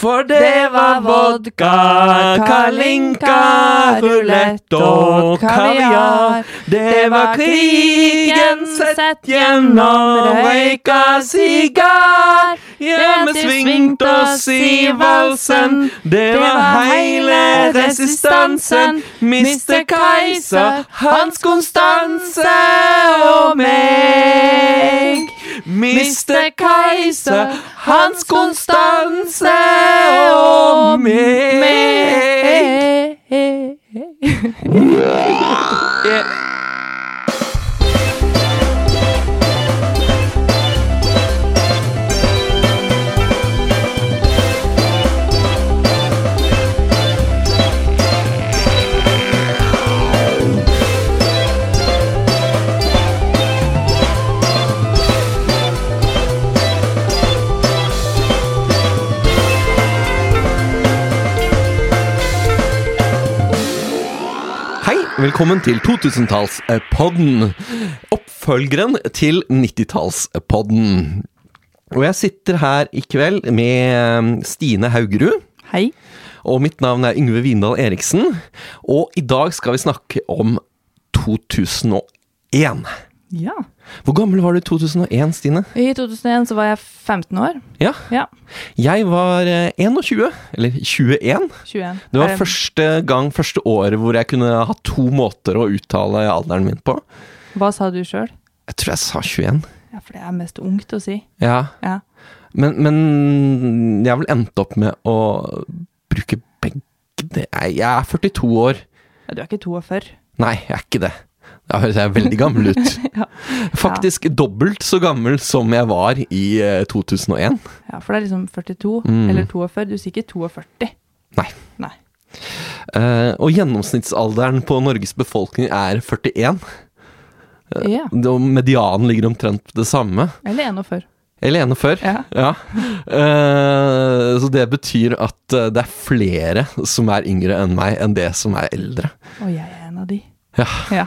For det var vodka, kalinka, rulett og kaviar. Det var krigen sett gjennom røyka sigar. Ja, vi svingte oss i valsen. Det var heile resistansen. Mister Kaiser, Hans Konstanse og meg. Mister Kaiser, Hans Konstanse og meg. Hei, velkommen til 2000-tallspodden. Oppfølgeren til 90-tallspodden. Og jeg sitter her i kveld med eh, Stine Haugerud, Hei. og mitt navn er Yngve Vindal Eriksen. Og i dag skal vi snakke om 2001. Ja. Hvor gammel var du i 2001, Stine? I 2001 så var jeg 15 år. Ja, Ja. jeg var eh, 21, eller 21. 21. Det var Eh, første gang, første året hvor jeg kunne ha to måter å uttale alderen min på. Hva sa du sjøl? Jeg tror jeg sa 21. Ja, for det er mest ungt å si. Ja, Ja. men, men jeg har vel endt opp med å bruke begge det er, Jeg er 42 år. Ja, Du er ikke 42. Nei, jeg er ikke det. Da høres jeg veldig gammel ut. Ja. Faktisk dobbelt så gammel som jeg var i eh, 2001. Ja, for det er liksom 42 Mm. eller 42. Du sier ikke 42. Nei. Nei. Eh, og gjennomsnittsalderen på Norges befolkning er 41. Ja. Og medianen ligger omtrent det samme. Eller 41. Eller 41. Ja. Ja. Eh, så det betyr at eh, det er flere som er yngre enn meg, enn det som er eldre. Og jeg er en av de. Ja. Ja.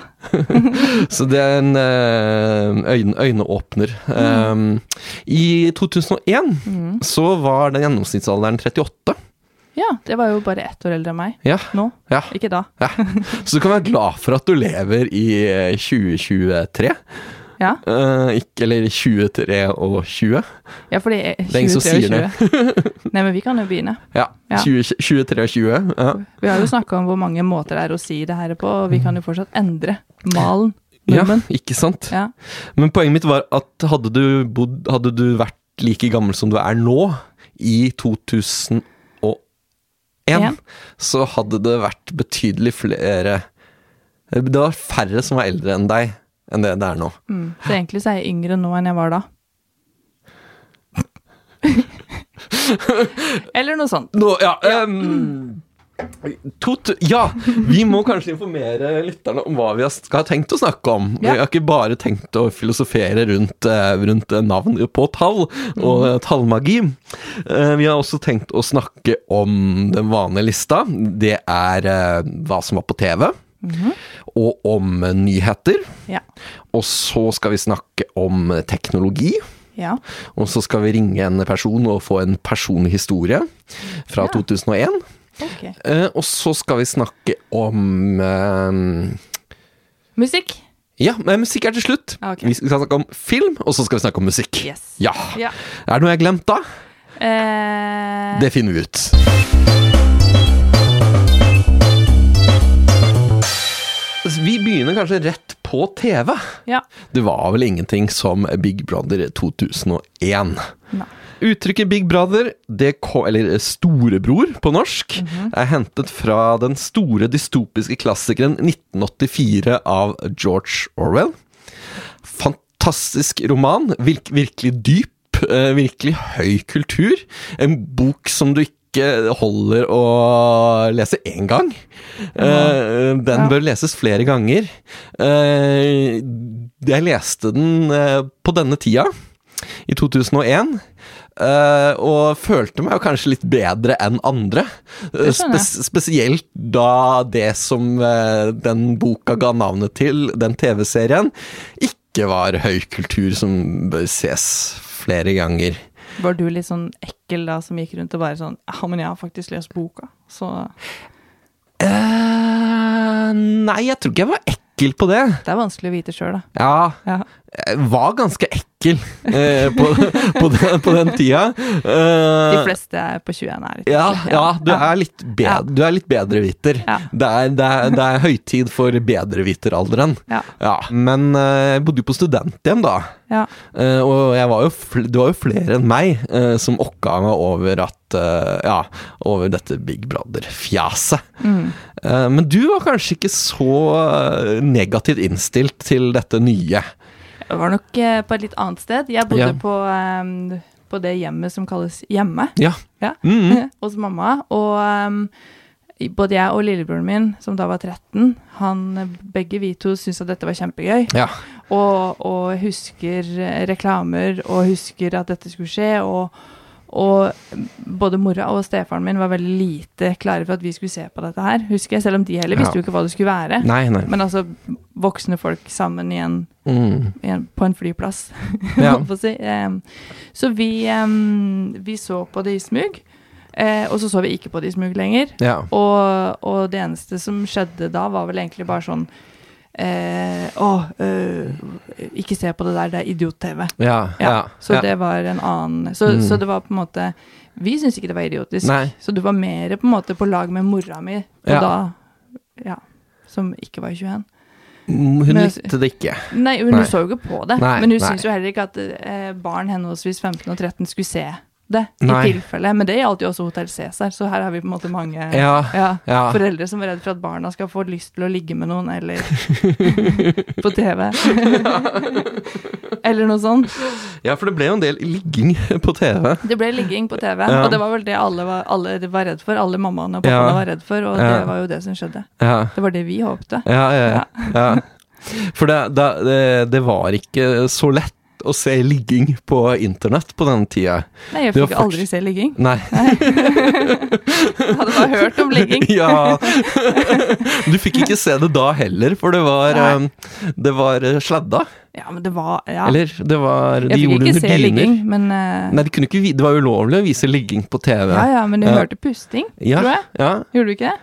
Så det er en eh, øyne, øyneåpner. Um, I 2001 Mm. så var den gjennomsnittsalderen 38. ja. Det var jo bare ett år eldre enn meg. Ja, Nå. ja. Ikke da. Så du kan være glad for at du lever i eh, 2023. Ja. Eh, ikke, eller 23 og 20. Ja, fordi jeg- er ingen som 23 og sier det. 20. Nei, men vi kan jo begynne. Ja, Ja. 20, 23 og 20. Ja. Vi har jo snakka om hvor mange måter det er å si det her på, og vi kan jo fortsatt endre malen. Mm. ja, Nordmenn. ikke sant? Ja. Men poenget mitt var at hadde du, bodd, hadde du vært like gammel som du er nå, i 2001, En. så hadde det vært betydelig flere Det var færre som var eldre enn deg, enn det det er nå. Mm. Så egentlig så er jeg yngre nå enn jeg var da. Eller noe sånt. Nå, ja, ehm, tot, ja, vi må kanskje informere lytterne om hva vi har- skal ha tenkt å snakke om. Ja. Vi har ikke bare tenkt å filosofere rundt, eh, rundt eh, navn på tall og Mm. eh, tallmagi. Eh, Vi har også tenkt å snakke om den vanlige lista. Det er eh, hva som var på TV, Mhm. og om eh, nyheter. Ja. Og så skal vi snakke om eh, teknologi. ja. Og så skal vi ringe en person og få en personlig historie fra Ja. 2001. Ok. Eh, og så skal vi snakke om eh, Musikk. Ja, men musikk er til slutt. Ah, ok. Vi skal snakke om film, og så skal vi snakke om musikk. Yes. Ja. Ja. Er det noe jeg har glemt, da? Eh, Det finner vi ut. Vi begynner kanskje rett på TV. Ja. Det var vel ingenting som Big Brother 2001. Nei. Uttrykket Big Brother, det ko- eller Storebror på norsk, er hentet fra den store dystopiske klassikeren 1984 av George Orwell. Fantastisk roman, virk, virkelig dyp, eh, virkelig høy kultur. En bok som du ikke holder å lese én gang. Eh, Den Ja. bør leses flere ganger. Eh, Jeg leste den eh, på denne tida, i 2001. Eh, og følte meg jo kanskje litt bedre enn andre. Eh, Det skjønner jeg. spes- spesielt da det som eh, den boka ga navnet til, den TV-serien, ikke var høykultur som bør ses flere ganger. Var du litt sånn ek ekkel da, som gikk rundt og bare sånn Ja, men jeg har faktisk lest boka, så Eh, nei, jeg tror ikke jeg var ekkel på det. det er vanskelig å vite sjøl, da. Ja, Ja. jeg var ganske ekkel eh, på, på, den, på den tida. De Eh, fleste er på 21 er litt ja, ekle. ja, du Ja. er litt, be Ja. du er litt bedreviter. Ja. Det er, det, er, det er høytid for bedreviteralderen. Ja. Ja, men eh, jeg bodde jo på studenthjem da, Ja. eh, og jeg var jo fl det var jo flere enn meg eh, som okka meg over at eh, Ja, over dette Big Brother-fjaset. Mm. Eh, men du var kanskje ikke så eh, negativt innstilt til dette nye. Jeg var nok eh, på et litt annet sted. Jeg bodde Ja. på, eh, på det hjemmet som kalles hjemme, Ja. Ja. Mm, hos mamma. Og eh, både jeg og lillebroren min, som da var 13, han, begge vi to syntes at dette var kjempegøy. ja. Og, og husker eh, reklamer, og husker at dette skulle skje. og og både mora og stefaren min var veldig lite klare for at vi skulle se på dette her, husker jeg. Selv om de heller visste Ja. Mm. jo ikke hva det skulle være. Nei, nei. Men altså, voksne folk sammen i en, Mm. i en, på en flyplass, Ja. holdt på å si. Em, så vi, em, vi så på det i smug, eh, og så så vi ikke på det i smug lenger. ja. Og, og det eneste som skjedde da, var vel egentlig bare sånn eh, Å, øh, ikke se på det der, det er idiot-TV. Ja. Ja, Ja. Så ja. det var en annen så, Mm. så det var på en måte Vi syntes ikke det var idiotisk, Nei. så du var mer på en måte på lag med mora mi, og Ja. da Ja. Som ikke var 21. Mm, Hun Men- likte det ikke. Nei, hun Nei. så jo ikke på det. Nei, men hun nei. syntes jo heller ikke at eh, barn henholdsvis 15 og 13 skulle se det. Nei. I tilfelle. Men det gjaldt jo også Hotell Cæsar, så her har vi på en måte mange Ja. ja, Ja. foreldre som er redd for at barna skal få lyst til å ligge med noen, eller på TV. eller noe sånt. ja, for det ble jo en del ligging på TV. Det ble ligging på TV, Ja. og det var vel det alle var, alle var redd for. Alle mammaene og Ja. pappaene var redd for, og Ja. det var jo det som skjedde. Ja. Det var det vi håpte. Ja, ja, ja. ja. For det, da- det, det var ikke så lett å se ligging på internett på den tida. Nei, jeg Det var fikk aldri se ligging. Nei. Jeg hadde bare hørt om ligging. Ja. Du fikk ikke se det da heller, for det var, Nei. um, det var eh, sladda. Ja, men det var ja. Eller det var De Jeg fikk gjorde ikke det se under dyner. ligging, men eh, Nei, de kunne ikke, vi- det var ulovlig å vise ligging på TV. Ja, ja, men du Ja. hørte pusting, Ja, tror jeg. ja. Gjorde du ikke det?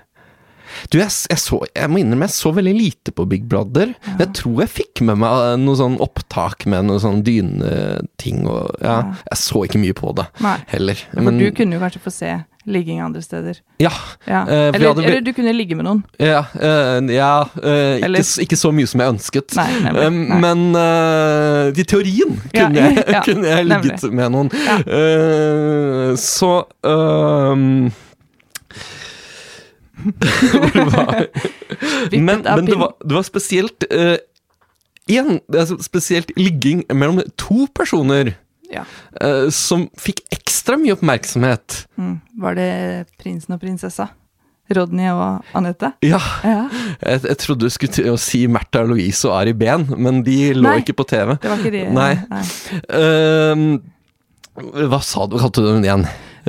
Du, jeg, s- jeg, så, jeg må innrømme, jeg så veldig lite på Big Brother. Men Jeg tror jeg fikk med meg eh, noe sånn opptak med noe sånn dyneting og ja. Ja. Jeg så ikke mye på det Nei. heller. For du kunne jo kanskje få se ligging andre steder. Ja. Ja. Eh, for jeg eller, hadde- eller du kunne ligge med noen. ja, eh, ja eh, ikke, Eller- s- ikke så mye som jeg ønsket. Nei, nemlig. Eh, Nei. Men eh, i teorien Ja, kunne, jeg, ja, kunne jeg ligget med noen. Ja. Eh, så ehm, Hvor var jeg? Vippet Men, av men det, pinn. var, det var spesielt eh, en, altså Spesielt ligging mellom to personer Ja. eh, som fikk ekstra mye oppmerksomhet. Mm. Var det prinsen og prinsessa? Rodney og Anette? Ja, Ja, jeg, jeg trodde du skulle til å si Märtha Louise og Ari Behn, men de lå Nei. ikke på TV. det var ikke de. Nei. Ehm, hva sa du, kalte du den igjen?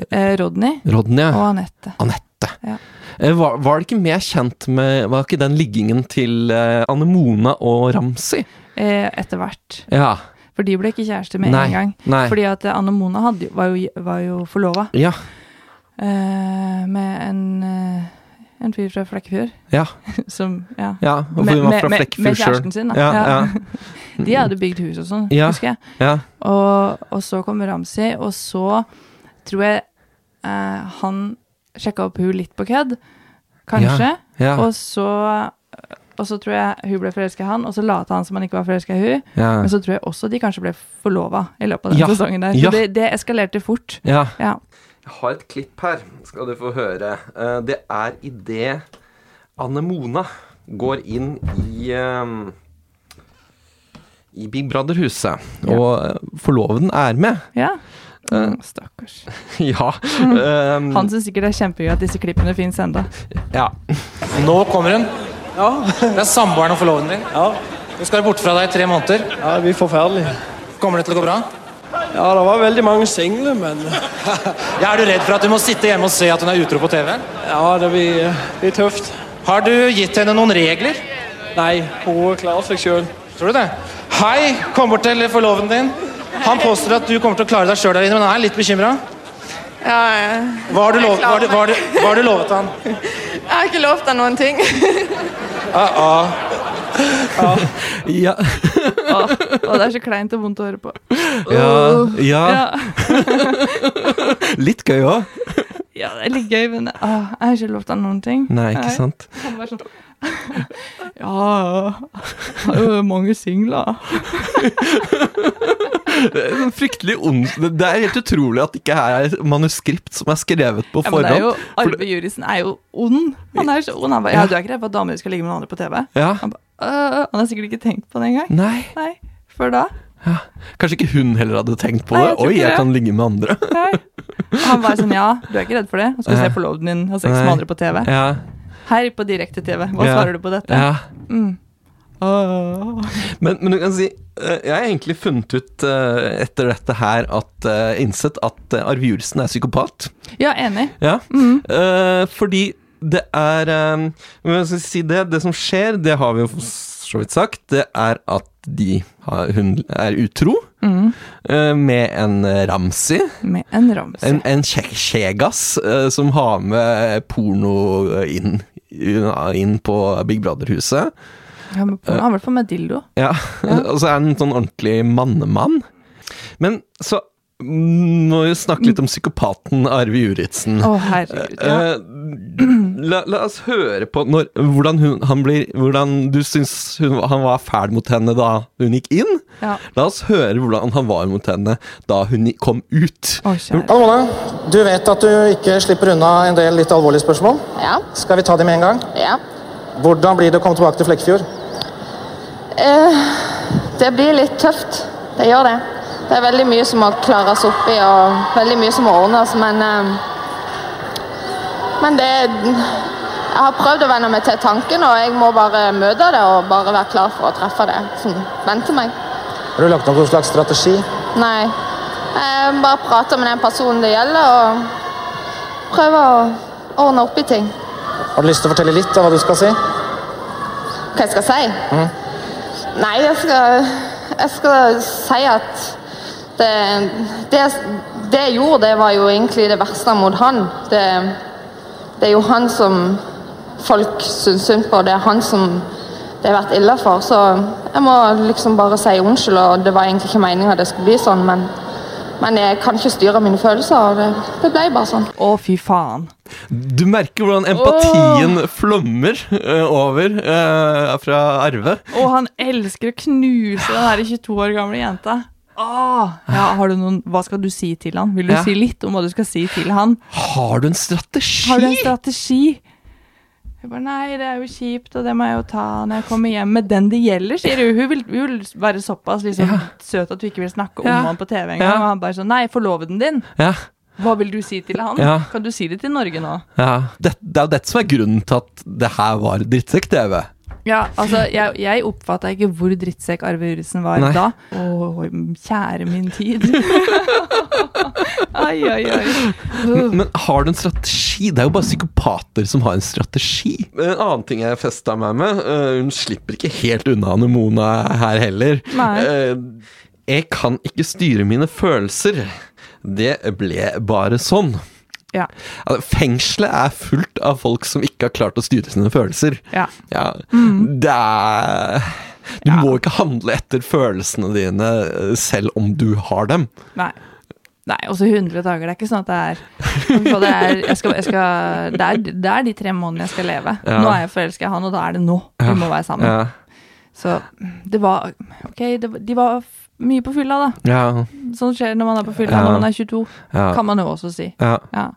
Eh, Rodney Rodney? og ja. Anette. Anette. Ja. Eh, Var, var det ikke mer kjent med Var ikke den liggingen til eh, Anne Mona og Ramsi? Eh, etter hvert. Ja. For de ble ikke kjærester med Nei, en gang. nei. Fordi at eh, Anne Mona hadde, jo- var jo, var jo forlova Ja. eh, med en, eh, en fyr fra Flekkefjord Ja. som Ja. ja. Og Med- hun var med- fra med- med Flekkefjord kjæresten sjøl. sin, da. Ja, ja. Ja. De hadde bygd hus og sånn, Ja. husker jeg. ja. Og, og så kom Ramsi, og så tror jeg eh, han sjekka opp hun litt på kødd, kanskje. ja. Og, så, og så tror jeg hun ble forelska i han, og så lata han som han ikke var forelska i hun. ja. Men så tror jeg også de kanskje ble forlova i løpet av den Ja, sesongen der. Så ja. det, det eskalerte fort. ja. Ja. Jeg har et klipp her, skal du få høre. Eh, Det er idet Anne Mona går inn i eh, i Big Brother-huset, Ja. og eh, forloveden er med. ja. Eh. Å, Stakkars. ja. eh, Han syns sikkert det er kjempegøy at disse klippene fins enda. ja. Nå kommer hun. Det er samboeren og forloveden din. Ja, Hun skal være borte fra deg i tre måneder. ja, det blir forferdelig. Kommer det til å gå bra? Ja, det var veldig mange single, men Ja, Er du redd for at du må sitte hjemme og se at hun er utro på TV? ja, det blir, eh, blir tøft. Har du gitt henne noen regler? Nei, hun klarer seg sjøl. Tror du det? Hei, kommer til forloveden din. Han påstår at du kommer til å klare deg sjøl der inne, men han er litt bekymra. Ja, jeg, Hva har du, lov, Jeg hva har klarer du, hva har du, hva har du lovet han? jeg har ikke lovt deg noen ting. Ja, Og det er så kleint og vondt å høre på. ja, Åh. Oh. ja. Ja, Litt gøy òg. ja det er litt gøy, men åh, jeg har ikke lovt deg noen ting. Nei, ikke sant. Han var sånn Ja, jeg har jo mange singler. Det er sånn fryktelig ond Det det er helt utrolig at det ikke her er manuskript som er skrevet på Ja, men forhånd. det er jo, For Arve Jurisen er jo ond. Han er så ond. Han bare, ja, Ja. du er ikke redd for at damer skal ligge med noen andre på TV? det- ja. Han, ba, «Øh, han har sikkert ikke tenkt på det engang. Nei, Nei, før da. kanskje ikke hun heller hadde tenkt på Nei, det. jeg tror Oi, ikke jeg det. kan ligge med andre. Nei. Han var sånn, ja, du er ikke redd for det? Han skulle Nei. se forloveden din ha sex Nei. med andre på TV. Ja, Her på direkte-TV, hva Ja. svarer du på dette? ja. Mm. Åh. Men, men du kan si eh, Jeg har egentlig funnet ut eh, etter dette her at eh, innsett at eh, Arve Julsen er psykopat. Ja, enig. Ja. Mm. Eh, fordi det er eh, Hva skal jeg si det? Det som skjer, det har vi jo for så vidt sagt, det er at de har, hun er utro eh, med en eh, Ramsi. Mm, Med en ramse. En, en kje- kjegas eh, som har med porno eh, inn, inn på Big Brother-huset. Ja, men porno, han var i hvert fall med dildo. Ja, og så er han en sånn ordentlig mannemann. Men så mm, må vi snakke litt om psykopaten Arve Juritzen. Å, herregud. Ja. Eh, la, la oss høre på når, hvordan, hun, han blir, hvordan du syns hun, han var fæl mot henne da hun gikk inn. Ja. La oss høre hvordan han var mot henne da hun kom ut. Å, kjære. Anne Mone, du vet at du ikke slipper unna en del litt alvorlige spørsmål. Ja. Skal vi ta de med en gang? ja. Hvordan blir det å komme tilbake til Flekkefjord? Det blir litt tøft. Det gjør det. Det er veldig mye som må klares opp i, og veldig mye som må ordnes, men eh, Men det Jeg har prøvd å venne meg til tanken, og jeg må bare møte det og bare være klar for å treffe det som venter meg. Har du lagt opp noen slags strategi? Nei. Jeg bare prater med den personen det gjelder, og prøver å ordne opp i ting. Har du lyst til å fortelle litt av hva du skal si? Hva jeg skal si? Nei, jeg skal, jeg skal si at det, det, det jeg gjorde, det var jo egentlig det verste mot han. Det, det er jo han som folk syns synd på, det er han som det har vært ille for. Så jeg må liksom bare si unnskyld, og det var egentlig ikke meninga det skulle bli sånn, men, men jeg kan ikke styre mine følelser, og det, det ble bare eh, sånn. Å, fy faen. Du merker hvordan empatien flommer eh, over eh, fra Arve. Og han elsker å knuse den her 22 år gamle jenta. Åh, ja, har du noen, hva skal du si til han? Vil du Ja. si litt om hva du skal si til han? Har du en strategi? Har du en strategi? Jeg bare, nei, det er jo kjipt, og det må jeg jo ta når jeg kommer hjem med den det gjelder, sier hun. Hun vil, hun vil være såpass liksom, Ja. søt at du ikke vil snakke om Ja. han på TV engang. Ja. Og han bare sånn, nei, forloveden din, Ja, hva vil du si til han? Ja. Kan du si det til Norge nå? ja. Det, det er jo dette som er grunnen til at det her var drittsekk-TV. Ja, altså, jeg, jeg oppfatta ikke hvor drittsekk Arve Juritzen var Nei. da. Å, kjære min tid. ai, ai, ai. Uh, Men har du en strategi? Det er jo bare psykopater som har en strategi. En annen ting jeg festa meg med, eh, hun slipper ikke helt unna Nemona her heller. Nei. Eh, Jeg kan ikke styre mine følelser. Det ble bare sånn. ja, Altså, Fengselet er fullt av folk som ikke har klart å styre sine følelser. ja. Mm. Ja. Det er Du må ikke handle etter følelsene dine eh, selv om du har dem. Nei. Nei, også 100 dager. Det er ikke sånn at det er, Fy faen, det, er, jeg skal, jeg skal, det, er det er de tre månedene jeg skal leve. Ja. Nå er jeg forelska i han, og da er det nå vi må være sammen. Mm. Ja. Så det var Ok, det, var- de var f- mye på fylla, da. Ja. Sånt skjer når man er på fylla Ja. når man er 22, Ja. kan man jo også si. ja. Ja.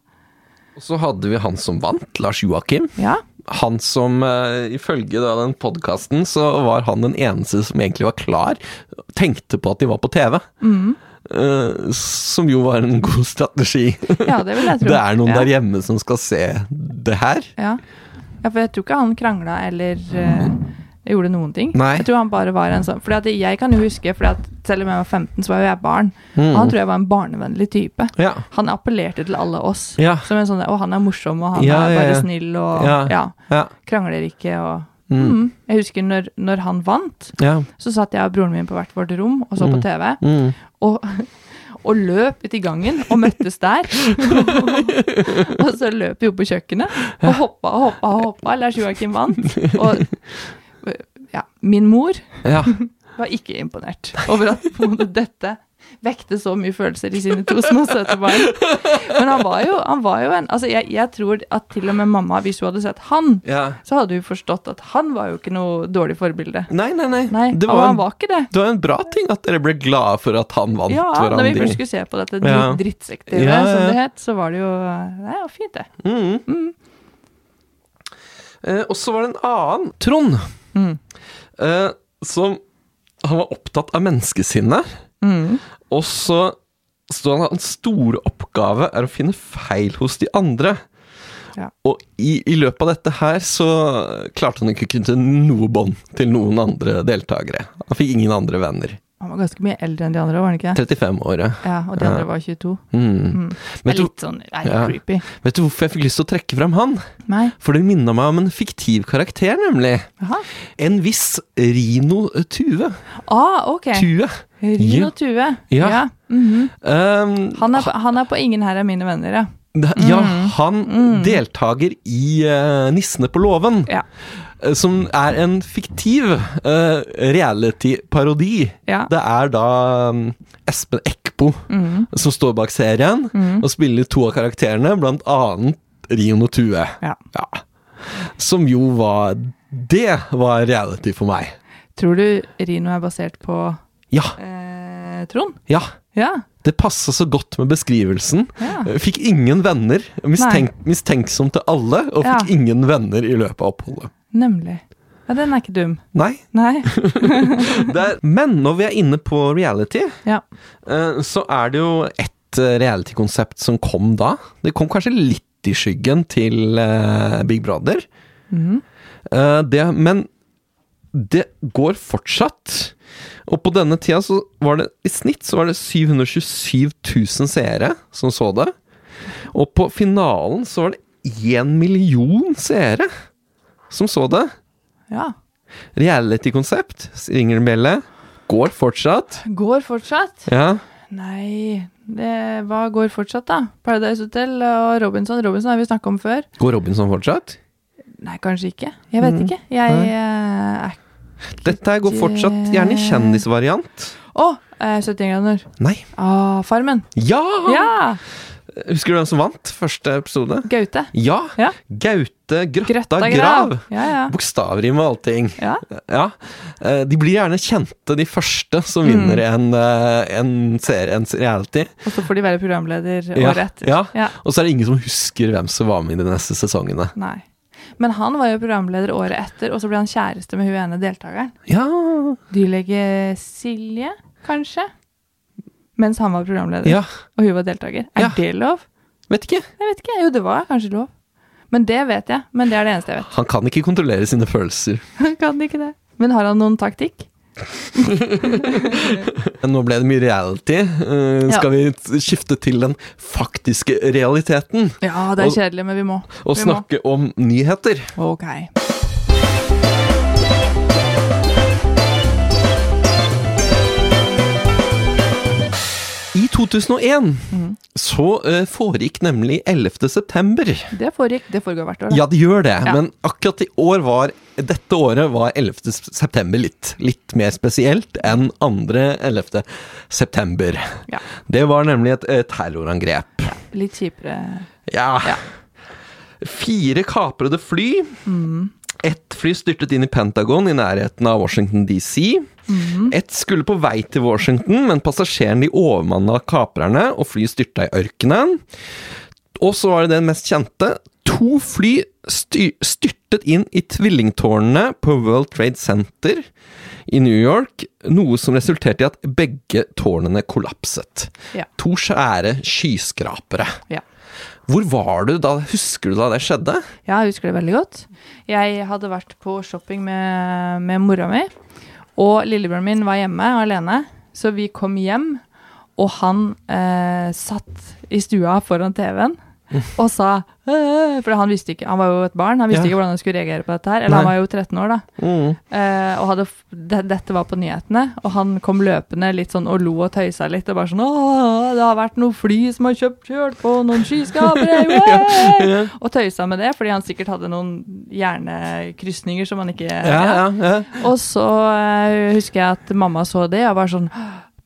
Og så hadde vi han som vant, Lars Joakim. ja. Han som eh, ifølge da den podkasten, så var han den eneste som egentlig var klar, tenkte på at de var på TV. Mm. Eh, som jo var en god strategi. Ja, det vil jeg tro. Det er noen ja. der hjemme som skal se det her. Ja. ja, for jeg tror ikke han krangla eller eh, gjorde noen ting. Nei. Jeg tror han bare var en sånn Fordi at jeg kan jo huske, fordi at selv om jeg var 15, så var jo jeg barn. Mm. Og han tror jeg var en barnevennlig type. Ja. Han appellerte til alle oss. Ja. Som en sånn Å, han er morsom, og han Ja, er ja, bare ja. snill, og ja. Ja. Mm. Ja. krangler ikke, og Mhm. Jeg husker når, når han vant, Ja. Mm. så satt jeg og broren min på hvert vårt rom og så på TV. Og, og løp ut i gangen og møttes der. og så løp vi opp på kjøkkenet og hoppa og hoppa og hoppa. Lars Joakim vant. Og ja, min mor Ja. var ikke imponert over at på en måte dette vekte så mye følelser i sine to små søte barn. Men han var jo, han var jo en Altså, jeg, jeg tror at til og med mamma, hvis hun hadde sett han, ja. så hadde hun forstått at han var jo ikke noe dårlig forbilde. Nei, nei, nei. Nei, det, og var han en, var ikke det. det var en bra ting at dere ble glade for at han vant Ja, hverandre. når vi først skulle se på dette dri- Ja. drittsektivet, Ja, ja, som ja. det het, så var det jo Nei, det var fint, det. Mhm. Eh, og så var det en annen, Trond, Mm. eh, som Han var opptatt av menneskesinnet. Mm. Og så sto han at hans store oppgave er å finne feil hos de andre. Ja. Og i, i løpet av dette her så klarte han ikke å knytte noe bånd til noen andre deltakere. Han fikk ingen andre venner. Han var ganske mye eldre enn de andre, var han ikke? 35-året. Ja, og de andre var 22. Mm. Det Vet, er du- litt sånn det er litt Ja. creepy. vet du hvorfor jeg fikk lyst til å trekke fram han? Nei. For det minna meg om en fiktiv karakter, nemlig. Jaha. En viss Rino Tue. Ah, ok. Tue. Rino Ja. Tue. Ja. mhm. Um, han, er, på- han er på ingen her er mine venner, ja. Det- Ja, Mm. han deltaker i eh, Nissene på låven, Ja. eh, som er en fiktiv eh, reality-parodi. Ja. Mm. Det er da mm, Espen Eckbo som står bak serien og spiller to av karakterene, blant annet Rino Tue. Ja. Som jo var Det var reality for meg. Tror du Rino er basert på Ja, eh, Trond? ja. Ja. Det passa så godt med beskrivelsen. Eh, Ja. Fikk ingen venner. Mistenk, mistenksom til alle, og fikk Ja. ingen venner i løpet av oppholdet. Nemlig. Ja, den er ikke dum. Nei. Nei. Det er, men når vi er inne på reality, Ja. eh, så er det jo ett eh, reality-konsept som kom da. Det kom kanskje litt i skyggen til eh, Big Brother. Eh, det, men det går fortsatt. Og på denne tida så var det i snitt så var det 727 000 seere som så det. Og på finalen så var det én million seere som så det. ja. Reality-konsept, ringer en bjelle. Går fortsatt. Går fortsatt? Ja. Nei, det, hva går fortsatt, da? Paradise Hotel og Robinson. Robinson har vi snakka om før. Går Robinson fortsatt? Nei, kanskje ikke. Jeg Mm. vet ikke. Jeg eh, er Dette her går fortsatt gjerne i kjendisvariant. Å! eh, 71 grader. Nei. Ah, farmen. Ja! Ja! Husker du hvem som vant første episode? Gaute. Ja! Ja. Gaute Grøtta, Grøtta Grav. grav. Ja, ja. Bokstavrim og allting. Ja. Ja. Eh, De blir gjerne kjente, de første som vinner en, eh, en serie, en reality. Og så får de være programleder Ja, året etter. ja. Ja. Og så er det ingen som husker hvem som var med i de neste sesongene. Nei. Men han var jo programleder året etter, og så ble han kjæreste med hun ene deltakeren. Ja Dyrlege Silje, kanskje? Mens han var programleder, Ja. og hun var deltaker. Er Ja. det lov? Vet ikke. Jeg vet ikke. Jo, det var kanskje lov. Men det vet jeg. Men det er det eneste jeg vet. Han kan ikke kontrollere sine følelser. kan ikke det. Men har han noen taktikk? Men Nå ble det mye reality. Eh, Ja. Skal vi t- skifte til den faktiske realiteten? Ja, det er Og- kjedelig, men vi må. Og Vi må. snakke om nyheter. Ok. I 2001 så eh, foregikk nemlig 11. september. Det foregikk. Det foregår hvert år. da. Ja, det gjør det, Ja. men akkurat i år var dette året var 11. september litt, litt mer spesielt enn andre 11. september. Ja. Det var nemlig et eh, terrorangrep. Litt kjipere. Ja. Fire kaprede fly. Ett fly styrtet inn i Pentagon i nærheten av Washington DC. Mhm. Ett skulle på vei til Washington, men passasjeren de overmanna kaprerne, og flyet styrta i ørkenen. Og så var det den mest kjente. To fly sty styrtet inn i tvillingtårnene på World Trade Center i New York, noe som resulterte i at begge tårnene kollapset. Ja. To svære skyskrapere. Ja. Hvor var du da? Husker du da det skjedde? Ja, jeg husker det veldig godt. Jeg hadde vært på shopping med, med mora mi, og lillebjørnen min var hjemme alene, så vi kom hjem, og han eh, satt i stua foran TV-en og sa «Åh», For han visste ikke, han var jo et barn, han visste Ja. ikke hvordan han skulle reagere på dette her. Eller han Nei. var jo 13 år, da. Eh, og hadde, f- de, dette var på nyhetene, og han kom løpende litt sånn og lo og tøysa litt. Og bare sånn Åh, det har vært noen fly som har kjøpt kjørt på noen skyskapere! yeah!» Og tøysa med det, fordi han sikkert hadde noen hjernekrysninger som han ikke Ja, ja, ja. og så eh, husker jeg at mamma så det, og var sånn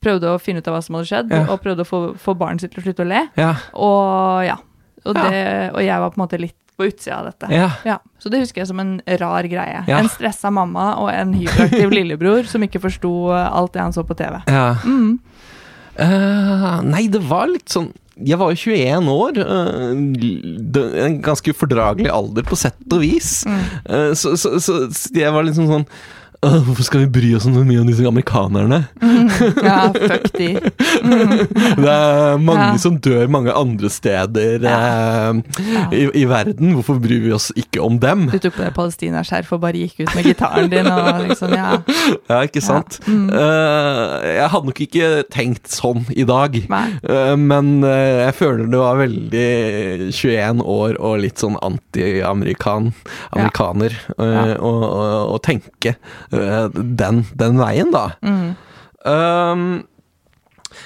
Prøvde å finne ut av hva som hadde skjedd, Ja. og prøvde å få, få barnet sitt til å slutte å le. ja. Og ja. Og, det, og jeg var på en måte litt på utsida av dette. Ja. Så det husker jeg som en rar greie. Ja. En stressa mamma og en hyperaktiv lillebror som ikke forsto eh, alt det han så på TV. Ja. Mm. Eh, nei, det var litt sånn Jeg var jo 21 år. eh, det- en ganske fordragelig alder, på sett og vis. Mm. Eh, så, så, så, så jeg var liksom sånn «Åh, Hvorfor skal vi bry oss så mye om disse amerikanerne? Mm. Ja, fuck de. Det er mange Ja. som dør mange andre steder eh, I, i verden. Hvorfor bryr vi oss ikke om dem? Du tok på deg palestinaskjerf og bare gikk ut med gitaren din og liksom, ja. Ja, ikke sant? Mm. Eh, jeg hadde nok ikke tenkt sånn i dag, Nei. Eh, men eh, jeg føler det var veldig 21 år og litt sånn anti-amerikan, amerikaner, eh, å å- å tenke eh, den, den veien, da. Mm. Um,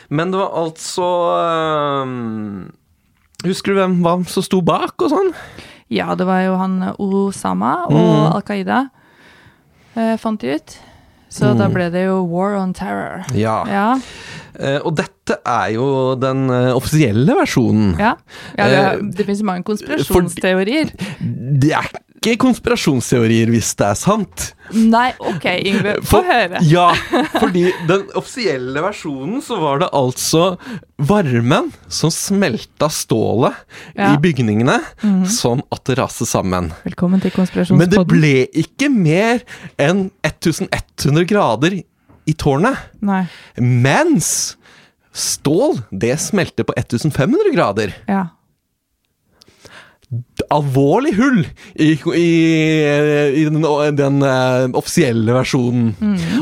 men det var altså um, Husker du hvem hva som sto bak og sånn? Ja, det var jo han Osama og Mhm. Al Qaida, eh, fant de ut. Så da Mhm. ble det jo War on Terror. Ja, Eh, og dette er jo den eh, offisielle versjonen. ja. ja det, Eh, det finnes mange konspirasjonsteorier. Det er ikke konspirasjonsteorier hvis det er sant. Nei, ok, Yngve, få For- høre. Ja, fordi den offisielle versjonen så var det altså varmen som smelta stålet Ja. Mhm. i bygningene, som at det raste sammen. Velkommen til Men det konspirasjonspodden. ble ikke mer enn 1100 grader i tårnet. Nei, Mens stål, det smelter på 1500 grader. ja. alvorlig hull i, i, i den, den eh, offisielle versjonen.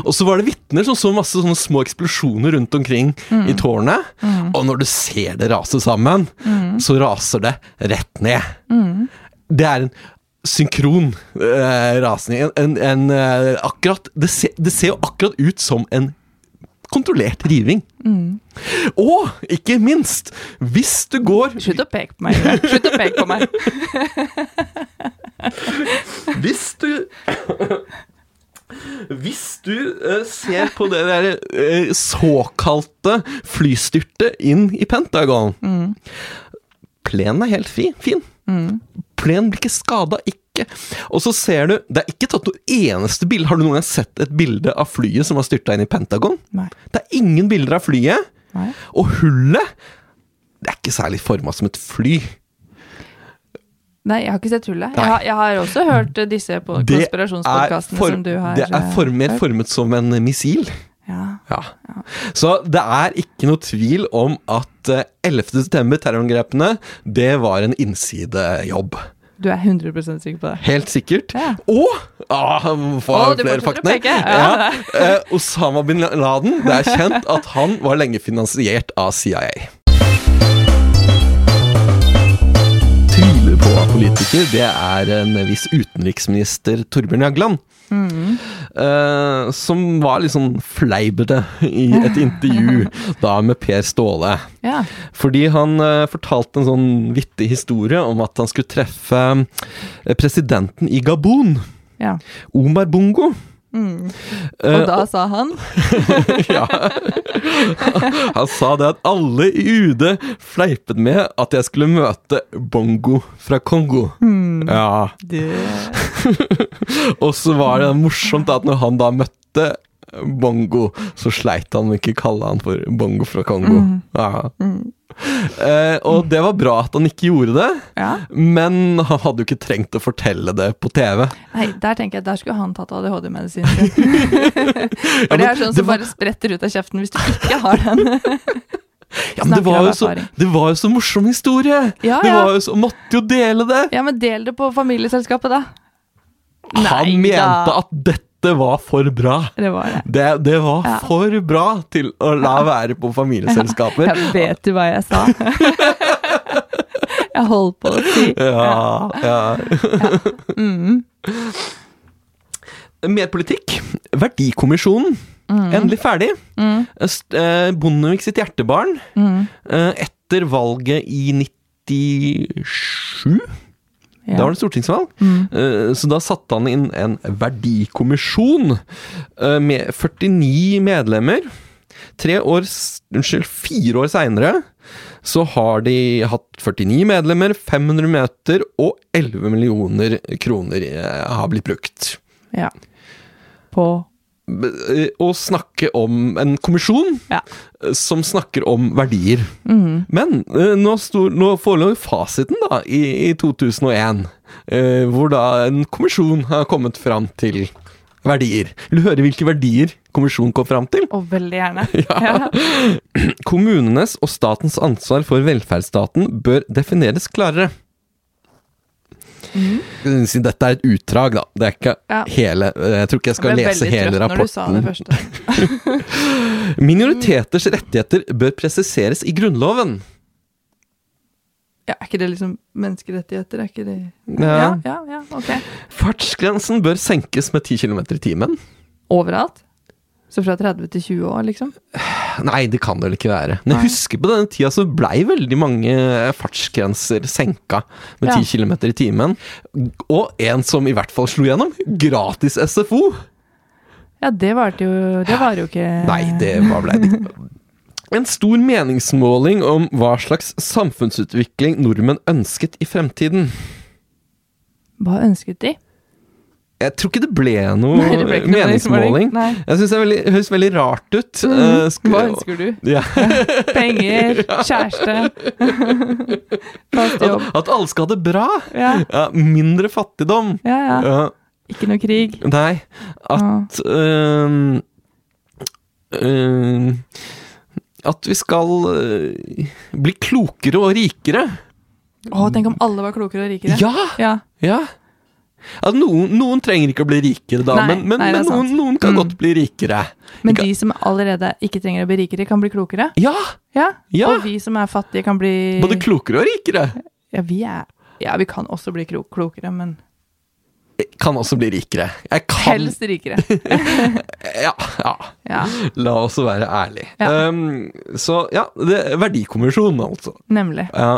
Og så var det vitner som så masse sånne små eksplosjoner rundt omkring i tårnet. Og når du ser det rase sammen, så raser det rett ned. Det er en synkron eh, rasning. En, en, eh, akkurat, det, se, det ser jo akkurat ut som en kontrollert riving. Og ikke minst, hvis du går Slutt å peke på meg, Yngve. Slutt å peke på meg. Hvis du Hvis du eh, ser på det der eh, såkalte flystyrtet inn i Pentagon Plenen er helt fi, fin. Plenen blir ikke skada, ikke. Og så ser du Det er ikke tatt noe eneste bilde. Har du noen gang sett et bilde av flyet som har styrta inn i Pentagon? Nei. Det er ingen bilder av flyet. Nei. Og hullet Det er ikke særlig forma som et fly. Nei, jeg har ikke sett hullet. Nei. Jeg har, jeg har også hørt eh, disse på Det er konspirasjonspodkastene form- som du har Det er eh, form- mer hørt. formet som en missil. Ja. Ja. Så det er ikke noe tvil om at eh, 11. september, terrorangrepene, det var en innsidejobb. Du er 100 sikker på det. Helt sikkert. Ja. Og ah, få Å, du flere fortsetter å fakta. peke. Ja. eh, Osama bin Laden, det er kjent at han var lenge finansiert av CIA. Tviler på av politiker, det er en viss utenriksminister Torbjørn Jagland. Mm. Eh, som var litt sånn fleipete i et intervju da med Per Ståle. Ja. Fordi han eh, fortalte en sånn vittig historie om at han skulle treffe eh, presidenten i Gabon, ja. Omar Bongo. Mm. Eh, Og da sa han Ja. Han sa det at alle i UD fleipet med at jeg skulle møte Bongo fra Kongo. Mm. Ja. Eh. Og så var det morsomt at når han da møtte Bongo, så sleit han med ikke kalle han for Bongo fra Kongo. Mm. Ja. Eh, og det var bra at han ikke gjorde det, Ja. men han hadde jo ikke trengt å fortelle det på TV. Nei, der tenker jeg, der skulle han tatt ADHD-medisin. For Ja, det men er sånn det som var- bare spretter ut av kjeften hvis du ikke har den. Ja, men det Snakker var, av jo så, erfaring. det var jo så morsom historie! Ja, Det ja. var jo så, måtte jo dele det! Ja, men del det på familieselskapet, da. Han Nei da. mente at dette var for bra. Det var det. Det, det var Ja. for bra til å la være på familieselskaper. Jeg vet du hva jeg sa? Jeg holdt på å si Eh, Ja, ja. Mm. Mer politikk. Verdikommisjonen. Endelig ferdig. Øst- eh, Bondevik sitt hjertebarn. Eh, Etter valget i 97 Ja. Da var det stortingsvalg. Eh, Så da satte han inn en verdikommisjon eh, med 49 medlemmer. Tre år, s- unnskyld, fire år seinere så har de hatt 49 medlemmer, 500 møter og 11 millioner kroner eh, har blitt brukt. ja. På B- eh, Å snakke om en kommisjon Ja. eh, som snakker om verdier. Men eh, nå, sto- nå forelå fasiten da, i, i 2001, eh, hvor da en kommisjon har kommet fram til verdier. Vil du høre hvilke verdier kommisjonen kom fram til? Og veldig gjerne. Ja. Kommunenes og statens ansvar for velferdsstaten bør defineres klarere. Si Dette er et utdrag, da. Det er ikke Ja. hele eh, Jeg tror ikke jeg skal ble lese veldig hele trøtt Når du sa det rapporten. første. Minoriteters rettigheter bør presiseres i Grunnloven. Ja, er ikke det liksom menneskerettigheter? Er ikke det Ja. Ja, ja, ja ok. Fartsgrensen bør senkes med 10 km i timen. Overalt? Så fra 30 til 20 år, liksom? Nei, det kan det vel ikke være. Men jeg husker på denne tida så blei veldig mange fartsgrenser senka med Ja. 10 km i timen. Og en som i hvert fall slo gjennom, gratis SFO! Ja, det varte jo Det varer jo ikke Nei, det var blei det ikke. En stor meningsmåling om hva slags samfunnsutvikling nordmenn ønsket i fremtiden. Hva ønsket de? Jeg tror ikke det ble noe Nei, det ble ikke noe meningsmåling. meningsmåling. Nei. Mm. Jeg syns det er veldig- høres veldig rart ut. Eh, sk- Hva ønsker du? Ja. Penger, kjæreste, fast jobb. At alle skal ha det bra! Ja, Ja, mindre fattigdom. ja, ja. Ja, Ikke noe krig. nei, at øhm, øhm, At vi skal øh, bli klokere og rikere. Å, tenk om alle var klokere og rikere. Ja! ja. ja. At noen, noen trenger ikke å bli rikere, da, Nei, men, men, nei, det er men noen, sant. noen kan Mm. godt bli rikere. Men Ikke- de som allerede ikke trenger å bli rikere, kan bli klokere? Ja! Ja. Ja. Og vi som er fattige, kan bli Både klokere og rikere Ja, vi er Ja, vi kan også bli klo klokere, men kan også bli rikere. Jeg kan helst rikere. Ja. ja. Ja, La oss være ærlige. Ja. Øhm, så ja, det, verdikommisjonen, altså. nemlig. Ja.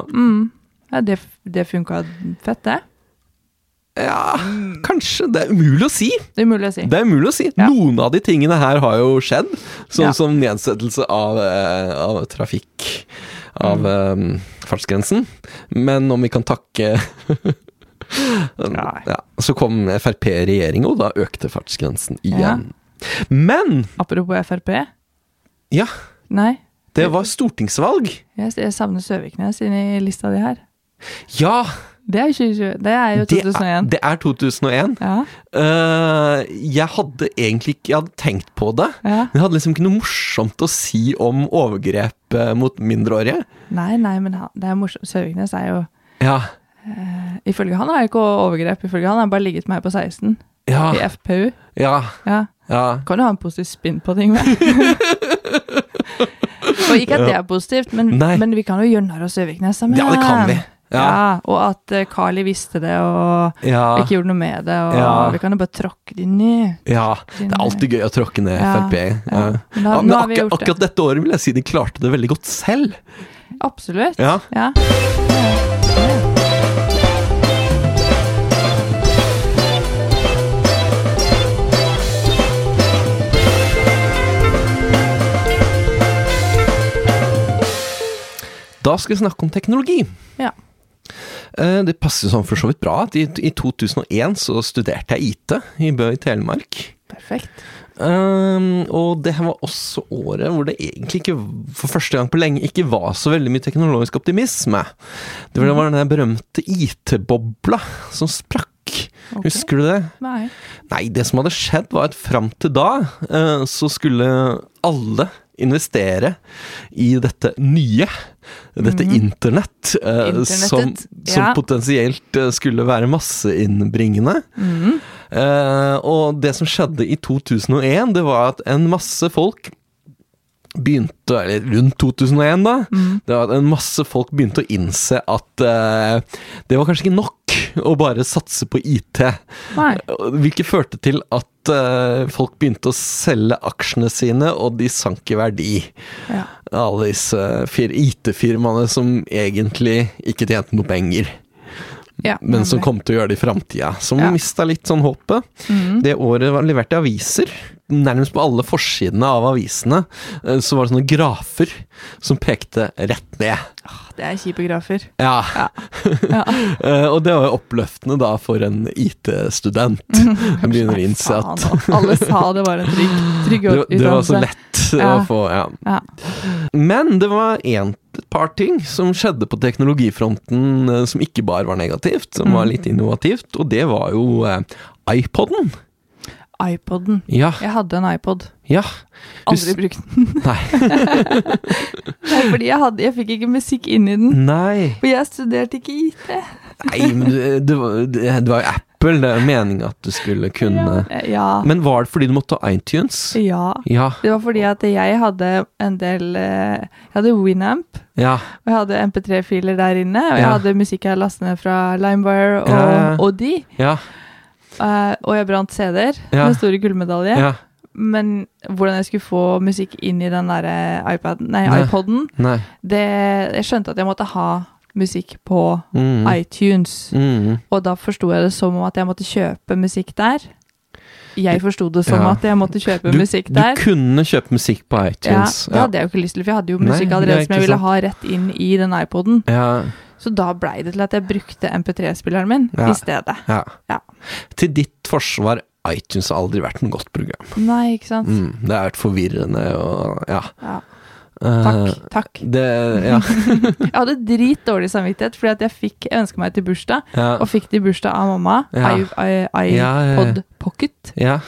Ja, det, det funka fett, det. Ja, kanskje. Det er umulig å si. Det er umulig å si. Det er umulig å si. Mm. Ja. Noen av de tingene her har jo skjedd, sånn Ja. som nedsettelse av, eh, av trafikk, av Mm. eh, fartsgrensen. Men om vi kan takke Nei. ja, Så kom Frp i regjering, og da økte fartsgrensen igjen. Men Apropos Frp. ja, Nei, det var stortingsvalg. jeg, jeg savner Søviknes inni lista di her. Ja, Det er, 2020. Det er jo det er, 2001. det er 2001. Ja, Eh, jeg hadde egentlig ikke Jeg hadde tenkt på det. ja. Men jeg hadde liksom ikke noe morsomt å si om overgrep eh, mot mindreårige. Nei, nei, men han, det er morsomt. Søviknes er jo Ja. Ifølge han er det ikke overgrep. Ifølge han har han bare ligget med meg på 16 Ja. i FPU. Ja. Ja. ja. Kan jo ha en positiv spinn på ting, vel. og ikke at det er positivt, men, Nei. men vi kan jo gjøre narr av Søviknes sammen. Ja, det kan vi. Ja. Ja. og at eh, Carly visste det og Ja. ikke gjorde noe med det. Og Ja. vi kan jo bare tråkke det inn i ja. Det er alltid gøy å tråkke ned Ja, Frp. Ja. ja. Men da- Ja, nå men har vi akkurat, gjort det. akkurat dette året vil jeg si de klarte det veldig godt selv. Absolutt. Ja. Ja. Da skal vi snakke om teknologi. Ja. Eh, Det passer sånn for så vidt bra at i, i 2001 så studerte jeg IT i Bø i Telemark. Perfekt. Ehm, og det her var også året hvor det egentlig ikke, for første gang på lenge, ikke var så veldig mye teknologisk optimisme. Det var- det var den der berømte IT-bobla som sprakk. Husker du det? Nei. Nei, det som hadde skjedd var at fram til da eh, så skulle alle investere i dette nye, dette internett, eh, som, Mhm. Internettet, som ja. potensielt eh, skulle være masseinnbringende. Mhm. Eh, og det som skjedde i 2001, det var at en masse folk begynte, eller rundt 2001 da, Mhm. det var at en masse folk begynte å innse at eh, det var kanskje ikke nok å bare satse på IT. Nei. Hvilket førte til at eh, folk begynte å selge aksjene sine, og de sank i verdi. Ja. Alle disse eh, fir- IT-firmaene som egentlig ikke tjente noe penger Ja, men som nemlig. kom til å gjøre det i framtida. Som Ja. mista litt sånn håpet. Mm. Det året var leverte aviser. Nærmest på alle forsidene av avisene eh, så var det sånne grafer som pekte rett ned. Det er kjipe grafer. Ja. Eh, Og det var jo oppløftende da for en IT-student. Som begynner å innse Faen, at og alle sa det var en trygg, trygg det, det var så utdannelse. lett å Ja. få ja. Ja. Men det var en, et par ting som skjedde på teknologifronten eh, som ikke bare var negativt, som Mm. var litt innovativt, og det var jo eh, iPoden. iPoden. Ja. Jeg hadde en iPod. ja. Aldri Hus- brukt den. Nei. Nei, fordi jeg, hadde, jeg fikk ikke musikk inn i den. Nei. For jeg studerte ikke IT. Nei, men eh, det, det, var, det, det var jo Apple. Det er meninga at du skulle kunne Ja. ja. Men var det fordi du måtte ha iTunes? ja. Ja. Det var fordi at jeg hadde en del eh, Jeg hadde Winamp, Ja. og jeg hadde MP3-filer der inne. Og jeg Ja. hadde musikk jeg lastet ned fra Limewire og, Ja, ja. og de. Ja. Eh, og jeg brant CD-er Ja. med store gullmedalje. ja. Men hvordan jeg skulle få musikk inn i den derre iPaden, nei, Nei. iPoden, Nei. det Jeg skjønte at jeg måtte ha musikk på Mm. iTunes. Mm. Og da forsto jeg det som om at jeg måtte kjøpe musikk der. Jeg forsto det som Ja. at jeg måtte kjøpe Du, musikk du der. kunne kjøpe musikk på Ja, iTunes. det hadde jeg jo ikke lyst til, for jeg hadde jo musikk Nei, det er allerede som jeg ikke ville sant. ha rett inn i den iPoden. ja. Så da blei det til at jeg brukte MP3-spilleren min Ja. i stedet. Ja. Ja. Til ditt forsvar, iTunes har aldri vært noe godt program. Nei, ikke sant. Mm. Det har vært forvirrende og ja. Ja. Eh, Takk. takk. det Ja. Jeg hadde dritdårlig samvittighet fordi at jeg fikk jeg ønska meg til bursdag, Ja. og fikk det i bursdag av mamma. Ja. I, I, iPod Ja, ja, ja. Pocket. ja.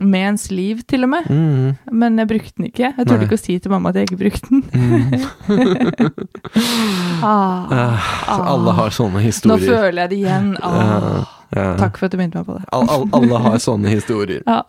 Med en sleeve, til og med. Mm. Men jeg brukte den ikke. Jeg Nei. Mm. turte ikke å si til mamma at jeg ikke brukte den. ah, Eh, alle har sånne nå historier. føler jeg det igjen. Ah, ja. takk for at du minnet meg på det. Al- al- alle har sånne historier. Ja.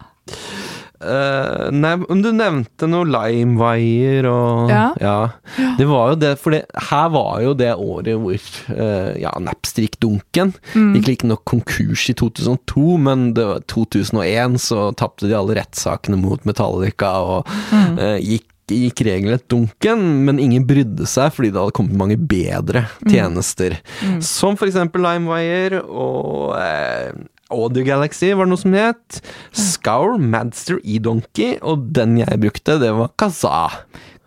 Eh, nei, men du nevnte noe limewire og Ja. Det var jo det, for det, her var jo det året hvor uh, ja, Napstrik-dunken gikk riktignok konkurs i 2002, men det var 2001 så tapte de alle rettssakene mot Metallica og eh, gikk gikk regelrett dunken, men ingen brydde seg fordi det hadde kommet mange bedre tjenester. Som for eksempel LimeWire og eh, Audio Galaxy var det noe som het. Scour, Madster, eDonkey, og den jeg brukte, det var Kazaa.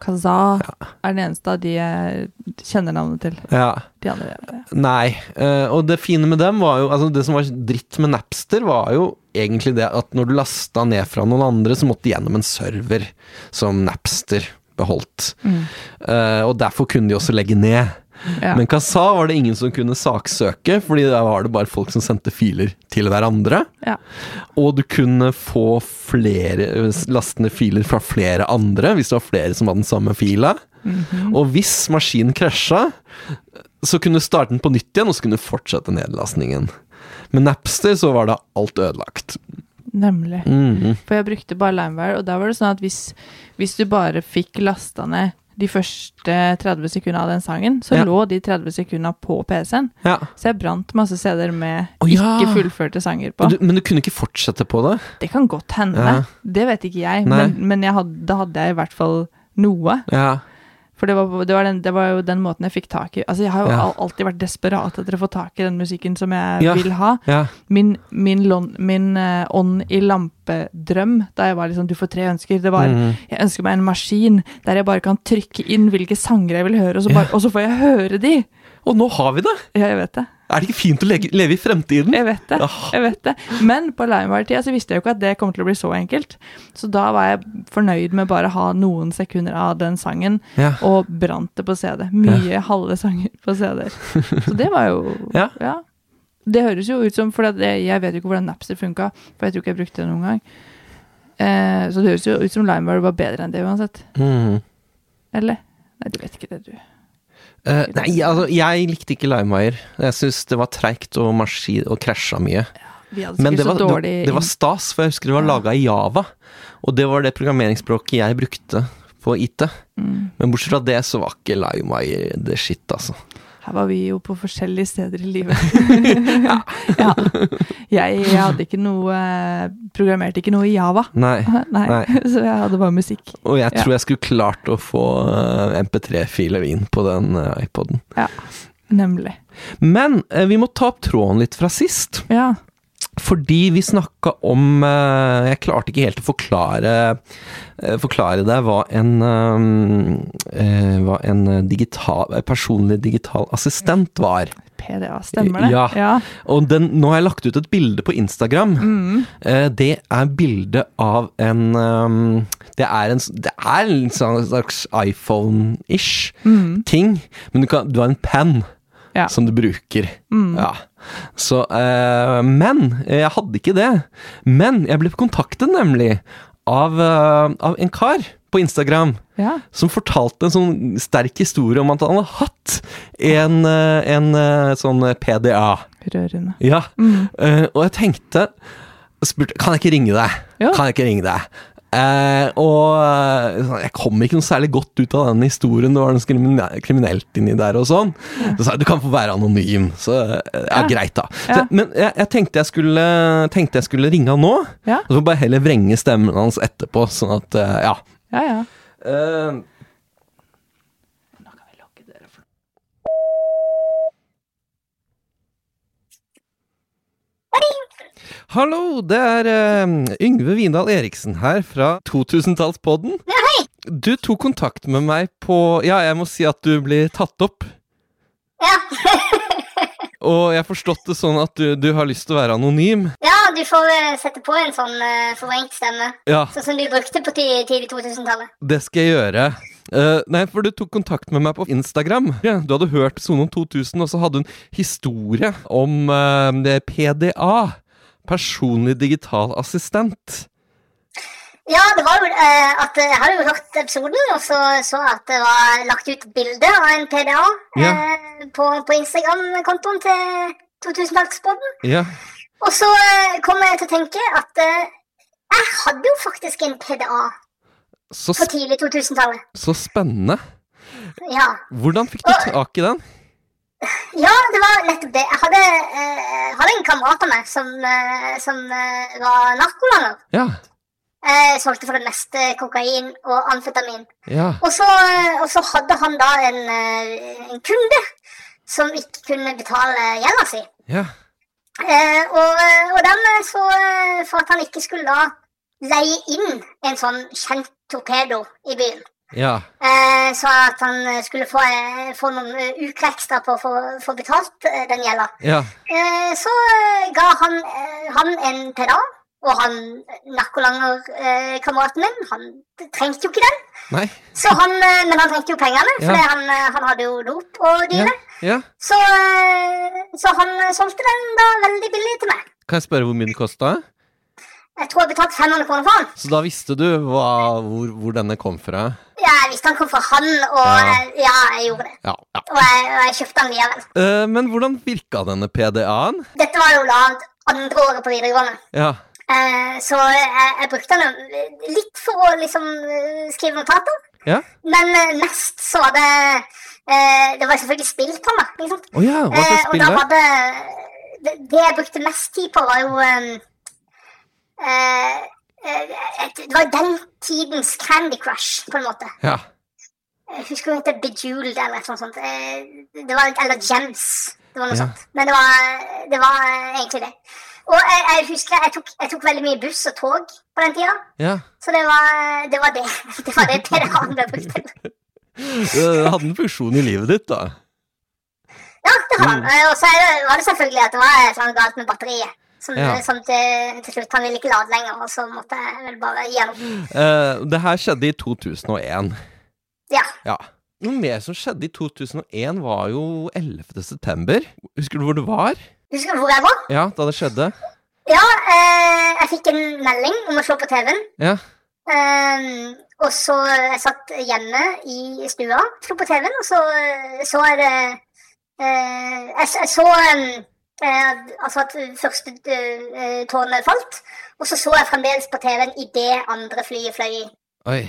Kaza er den eneste av de jeg kjenner navnet til. Ja. De andre Nei, eh, og det fine med dem var jo altså Det som var dritt med Napster, var jo egentlig det at når du lasta ned fra noen andre, så måtte du gjennom en server som Napster beholdt. Eh, og derfor kunne de også legge ned. Ja. Men Kazaa var det ingen som kunne saksøke, fordi der var det bare folk som sendte filer til hverandre. Ja. Og du kunne få flere eh, lastende filer fra flere andre, hvis det var flere som hadde den samme fila. Og hvis maskinen krasja, så kunne du starte den på nytt igjen, og så kunne du fortsette nedlastningen. Med Napster så var da alt ødelagt. Nemlig. Mhm. For jeg brukte bare LimeWire, og da var det sånn at hvis, hvis du bare fikk lasta ned de første 30 sekundene av den sangen, så Ja. lå de 30 sekundene på PC-en. Ja. Så jeg brant masse CD-er med Å, ja. ikke fullførte sanger på. Men du, men du kunne ikke fortsette på det? det kan godt hende. Ja. Det vet ikke jeg, Nei. men, men jeg hadde, da hadde jeg i hvert fall noe. Ja. For det var, det, var den, det var jo den måten jeg fikk tak i Altså, jeg har jo Ja. al- alltid vært desperat etter å få tak i den musikken som jeg Ja. vil ha. ja. Min, min, lon, min eh, ånd i lampedrøm da jeg var liksom Du får tre ønsker. Det var Mhm. Jeg ønsker meg en maskin der jeg bare kan trykke inn hvilke sanger jeg vil høre, og så, bare, og så får jeg høre de! Og nå har vi det! Ja, jeg vet det. Er det ikke fint å lege, leve i fremtiden? Jeg vet det. Ah. jeg vet det. Men på LimeWire-tida så visste jeg jo ikke at det kom til å bli så enkelt. Så da var jeg fornøyd med bare å ha noen sekunder av den sangen, Ja. og brant det på CD. Mye halve sanger på CD-er. Så det var jo Ja. Det høres jo ut som For at jeg, jeg vet jo ikke hvordan Napster funka, for jeg tror ikke jeg brukte det noen gang. Eh, så det høres jo ut som LimeWire var bedre enn det uansett. Mhm. Eller? Nei, du vet ikke det, du. Eh, nei, altså, jeg likte ikke LimeWire. Jeg syns det var treigt og, maski- og krasja mye. Vi hadde Men det sikkert var, så dårlig det, det var stas, for jeg husker det var laga i Java. Og det var det programmeringsspråket jeg brukte på IT. Mm. Men bortsett fra det, så var ikke Limeyer the shit, altså. Her var vi jo på forskjellige steder i livet. ja. Jeg, jeg hadde ikke noe Programmerte ikke noe i Java. Nei. Nei. Nei. Så jeg hadde bare musikk. Og jeg Ja. tror jeg skulle klart å få eh, MP3-filer inn på den eh, iPoden. Ja. Nemlig. Men eh, vi må ta opp tråden litt fra sist. Ja. Fordi vi snakka om eh, Jeg klarte ikke helt å forklare eh, Forklare deg hva en eh, eh, Hva en digital, eh, personlig digital assistent var. PDA, stemmer det? Ja. Og den, nå har jeg lagt ut et bilde på Instagram. Eh, det er bilde av en eh, Det er en, s- det er en sånn slags iPhone-ish ting, men du, kan, du har en penn Ja. som du bruker. Ja. Så, eh, men eh, jeg hadde ikke det. Men jeg ble kontaktet nemlig av, eh, av en kar på Instagram Ja. som fortalte en sånn sterk historie om at han hadde hatt en, eh, en eh, sånn PDA. Rørende. Ja, Mm. eh, og jeg tenkte spurte, Kan jeg ikke ringe deg? Ja. Kan jeg ikke ringe deg? Eh, og eh, sånn, jeg kom ikke noe særlig godt ut av den historien. Det var noe krimine- kriminelt inni der og sånn. Så sa jeg du kan få være anonym. Så eh, ja, greit, da. Så, Ja. Men jeg, jeg, tenkte jeg skulle, tenkte jeg skulle ringe han nå. Ja. Og så bare heller vrenge stemmen hans etterpå, sånn at eh, Ja. Ja, ja. Eh, Hallo, det er eh, Yngve Vindal Eriksen her fra 2000-tallspodden. Du tok kontakt med meg på Ja, jeg må si at du blir tatt opp. Ja. Og jeg har forstått det sånn at du, du har lyst til å være anonym. ja, du får eh, sette på en sånn eh, forvrengt stemme. Ja, Sånn som du brukte på ti- tidlig 2000-tallet. det skal jeg gjøre. Eh, nei, for du tok kontakt med meg på Instagram. Ja, Du hadde hørt Sone om 2000, og så hadde hun historie om eh, det PDA. Personlig digital assistent. Ja, det var jo eh, at eh, jeg hadde jo hørt episoden, og så så jeg at det var lagt ut bilde av en PDA Ja. eh, på, på Instagram-kontoen til 2000-tallspodden. Ja, Og så eh, kom jeg til å tenke at eh, jeg hadde jo faktisk en PDA så, på sp tidlig 2000-tallet. så spennende. Ja. Hvordan fikk du tak i den? Ja, det var nettopp det. Jeg hadde, eh, hadde en kamerat av meg som, eh, som eh, var narkolanger. Ja. Eh, solgte for det meste kokain og amfetamin. Ja. Og så, eh, og så hadde han da en, eh, en kunde som ikke kunne betale gjelda si. Ja. Eh, og, eh, og dermed så eh, For at han ikke skulle da leie inn en sånn kjent torpedo i byen. Ja. Eh, så at han eh, skulle få, eh, få noen eh, uker ekstra på å få, få betalt eh, den gjelda. Ja. Eh, så eh, ga han, eh, han en PDA, og han narkolangerkameraten min, han trengte jo ikke den. Nei. Så han, eh, men han trengte jo pengene, for Ja. det han, eh, han hadde jo dop og Ja. dyre. ja. Så, eh, så han eh, solgte den da veldig billig til meg. Kan jeg spørre hvor mye det kosta? Jeg tror jeg betalte 500 kroner for han. Så da visste du hva, hvor, hvor denne kom fra? Ja, jeg visste han kom fra han, og Ja. eh, ja, jeg gjorde det. Ja. ja. Og jeg, og jeg kjøpte han likevel. Eh, men hvordan virka denne PDA-en? Dette var jo da andre året på videregående. Ja. Eh, så jeg, jeg brukte den jo litt for å liksom eh, skrive notater. Ja. Men eh, mest så var det eh, Det var selvfølgelig spill på meg. Ikke sant? Å ja, hva Eh, slags og spill da var var det det- Det jeg brukte mest tid på, var jo eh, eh, eh, Det var den tidens Candy Crush, på en måte. Ja. Jeg husker hun het Bejeweled eller et sånt. sånt. Eh, Det var, eller Gems. Det var noe Ja. sånt. Men det var, det var eh, egentlig det. Og jeg, jeg husker jeg tok, jeg tok veldig mye buss og tog på den tida. ja. Så det var det. Var det. det var det PDA-en ble brukt til. Det hadde en funksjon i livet ditt, da. Ja, det har Mm. han. Eh, Og så er det- var det selvfølgelig at det var et eller annet galt med batteriet. Som, Ja. som til, til slutt han ville ikke lade lenger, og så måtte jeg vel bare gi han opp. Eh, det her skjedde i 2001. Ja. Ja. Noe mer som skjedde i 2001, var jo 11. september. Husker du hvor du var? Husker du hvor jeg var? Ja, da det skjedde? Ja, eh, jeg fikk en melding om å slå på TV-en. Ja. Ehm, og så eh, jeg satt hjemme i stua, slo på TV-en, og så eh, så jeg det eh, jeg, s- jeg så em, eh, altså at første eh, tårnet falt, og så så jeg fremdeles på TV-en idet andre flyet fløy i. Oi.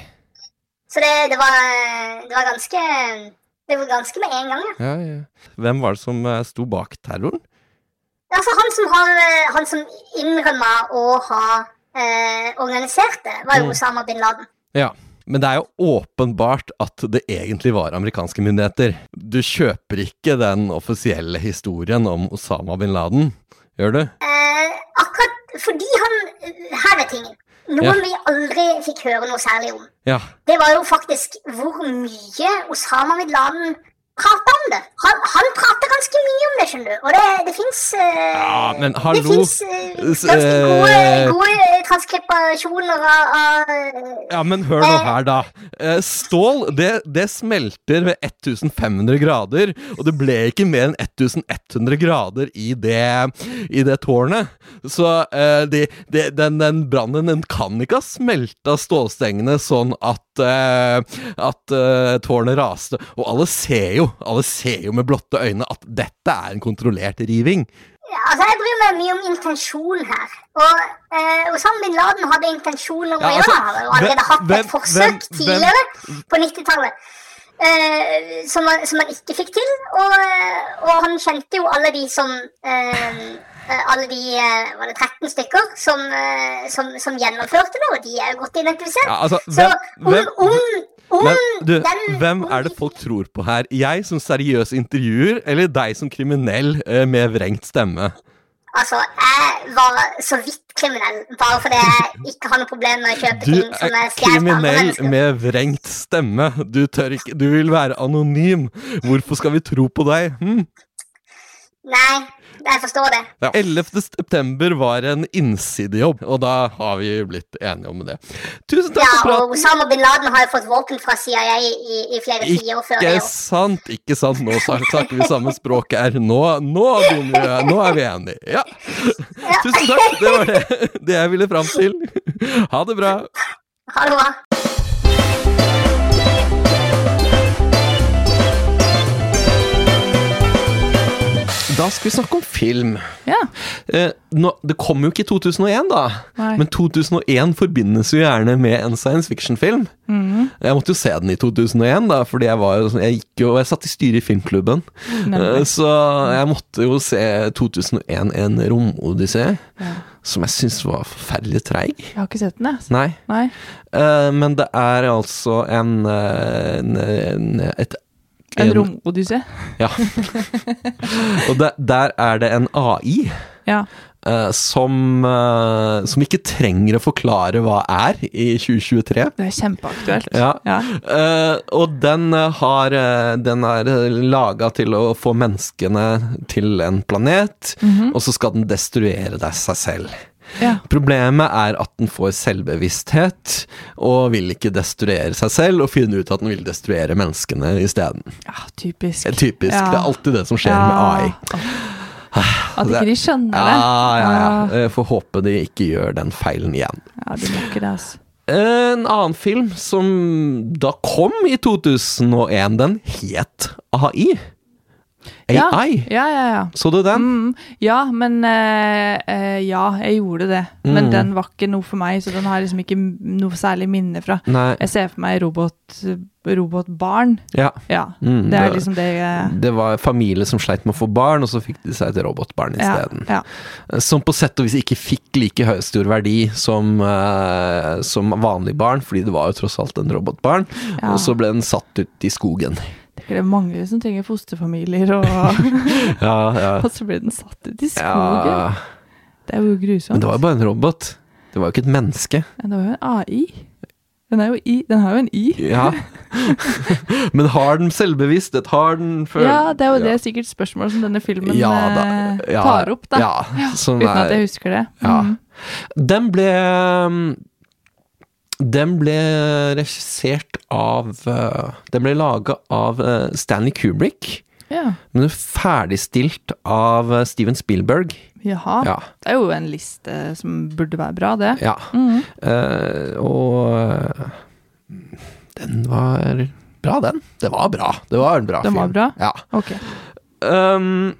Så det, det, var, det var ganske Det var ganske med en gang, ja. Ja, ja. Hvem var det som eh, sto bak terroren? Altså, han som, har, eh, han som innrømma å ha eh, organisert det, var Mm. jo Osama bin Laden. Ja. Men det er jo åpenbart at det egentlig var amerikanske myndigheter. Du kjøper ikke den offisielle historien om Osama bin Laden, gjør du? Eh, akkurat fordi han Her er tingen. Noe Ja. vi aldri fikk høre noe særlig om. Ja. Det var jo faktisk hvor mye Osama bin Laden prata om det. Han, han prater ganske mye om det, skjønner du. Og det, det eh, fins Ja, men hallo. Det fins S- ganske øh, gode, eh, gode øh, transkripasjoner av, av eh, Ja, men hør nå her, da. Eh, Stål det, det smelter ved 1500 grader, og det ble ikke mer enn 1100 grader i det, i det tårnet. Så eh, de, de, den, den brannen den kan ikke ha smelta stålstengene sånn at, eh, at eh, tårnet raste. Og alle ser jo alle ser jo med blotte øyne at dette er en kontrollert riving. Ja, altså Jeg bryr meg mye om intensjon her. Og eh, Osama bin Laden hadde intensjoner om Ja, å altså, gjøre det. Han hadde jo allerede hvem- hatt hvem- et forsøk hvem- tidligere, på 90-tallet, eh, som, han- som han ikke fikk til. Og, eh, og han kjente jo alle de som eh, eh, Alle de eh, var det 13 stykker som, eh, som, som gjennomførte det, og de er jo godt identifisert. Ja, altså, Så hvem, om, hvem, om, om Men du, den hvem om er det folk tror på her? Jeg som seriøs intervjuer, eller deg som kriminell eh, med vrengt stemme? Altså, jeg var så vidt kriminell, bare fordi jeg ikke har noe problem med å kjøpe Du ting som er er stjålet av andre kriminell mennesker. med vrengt stemme. Du tør ikke Du vil være anonym. Hvorfor skal vi tro på deg? Hm? Nei, jeg forstår det. Ja. 11. september var en innsidejobb, og da har vi blitt enige om det. Tusen takk Ja, for og praten! Osama bin Laden har jo fått våpen fra CIA i, i, i flere tiår før det. Ikke jo. sant, ikke sant. Nå snak- snakker vi samme språk her. Nå, nå, begynner vi, nå er vi enige. Ja. Tusen takk. Det var det, det jeg ville fram til. Ha det bra. Ha det bra. Da skal vi snakke om film. Ja. Eh, nå, det kom jo ikke i 2001, da. Nei. Men 2001 forbindes jo gjerne med en science fiction-film. Mhm. Jeg måtte jo se den i 2001, da, fordi jeg, var jo, sånn- jeg, gikk jo, jeg satt i styret i filmklubben. Nemlig. Eh, Så jeg måtte jo se 2001 En romodyssé, som jeg syns var forferdelig treig. Jeg har ikke sett den, jeg. Nei. Nei. Eh, men det er altså en, eh, en, en et, En romodyssé. Ja. Og der- der er det en AI Ja. eh, som, eh, som ikke trenger å forklare hva er i 2023. Det er kjempeaktuelt. Ja. Ja. Eh, og den eh, har eh, Den er laga til å få menneskene til en planet, Mhm. og så skal den destruere deg seg selv. Ja. Problemet er at den får selvbevissthet, og vil ikke destruere seg selv, og finne ut at den vil destruere menneskene isteden. ja, typisk. Typisk. Ja. Det er alltid det som skjer med Ja. AI. At ikke de skjønner det. Ja, ja, ja. Jeg får håpe de ikke gjør den feilen igjen. Ja, de må ikke det, altså. En annen film som da kom i 2001, den het AI. Ja. AI. Ja, ja, ja. Så du den? Mm, ja, men eh, eh, Ja, jeg gjorde det. Mm. Men den var ikke noe for meg, så den har liksom ikke m- noe særlig minne fra. Nei. Jeg ser for meg robot, robotbarn. Ja. Ja. Mm, det er det- liksom det jeg Det var en familie som sleit med å få barn, og så fikk de seg et robotbarn ja, isteden. ja. Som på sett og vis ikke fikk like høy stor verdi som, eh, som vanlig barn, fordi det var jo tross alt en robotbarn. Ja. Og så ble den satt ut i skogen. Det er ikke det mange som trenger fosterfamilier, og, Ja, ja. og så blir den satt ut i skogen. ja. Det er jo grusomt. Men det var jo bare en robot. Det var jo ikke et menneske. Ja, det var jo en AI. Den, er jo i, den har jo en I. Ja. Men har den selvbevissthet? Har den føl... Ja, det er jo det sikkert spørsmål som denne filmen Ja, da. eh, Ja, tar opp, da. ja, sånn Uten at er- jeg husker det. Ja. Mm. Den ble mm, Den ble regissert av eh, Den ble laga av eh, Stanley Kubrick, Ja. men ferdigstilt av eh, Steven Spielberg. Jaha. Ja. Det er jo en liste som burde være bra, det. Mm, Ja. Eh, og eh, den var bra, den. Det var bra. Det var en bra Den var film. bra? Ja. Ok. Ehm,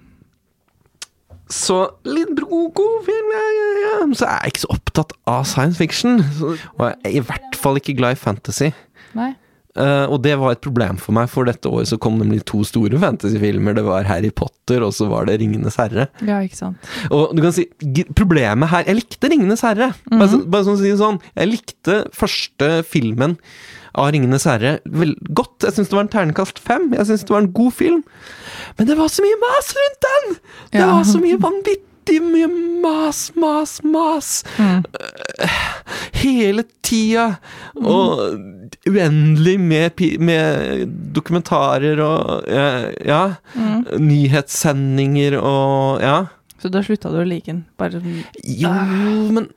så litt bro- god film ja, ja, ja. Men Så er jeg ikke så opptatt av science fiction. Så, og jeg er i hvert fall ikke glad i fantasy. Nei. Eh, og det var et problem for meg, for dette året så kom nemlig to store fantasyfilmer. Det var Harry Potter, og så var det Ringenes herre. Ja, ikke sant. Og du kan si, g- problemet her Jeg likte 'Ringenes herre'. Bare, så, bare sånn å si det sånn. Jeg likte første filmen av 'Ringenes herre' vel, godt. Jeg syns det var en ternekast fem. Jeg syns det var en god film. Men det var så mye mas rundt den! Det Ja. var så mye vanvittig mye mas, mas, mas. Eh, Hele tida. Og uendelig med, pi- med dokumentarer og eh, Ja. Nyhetssendinger og Ja. Så da slutta du å like den? Bare sånn Jo, men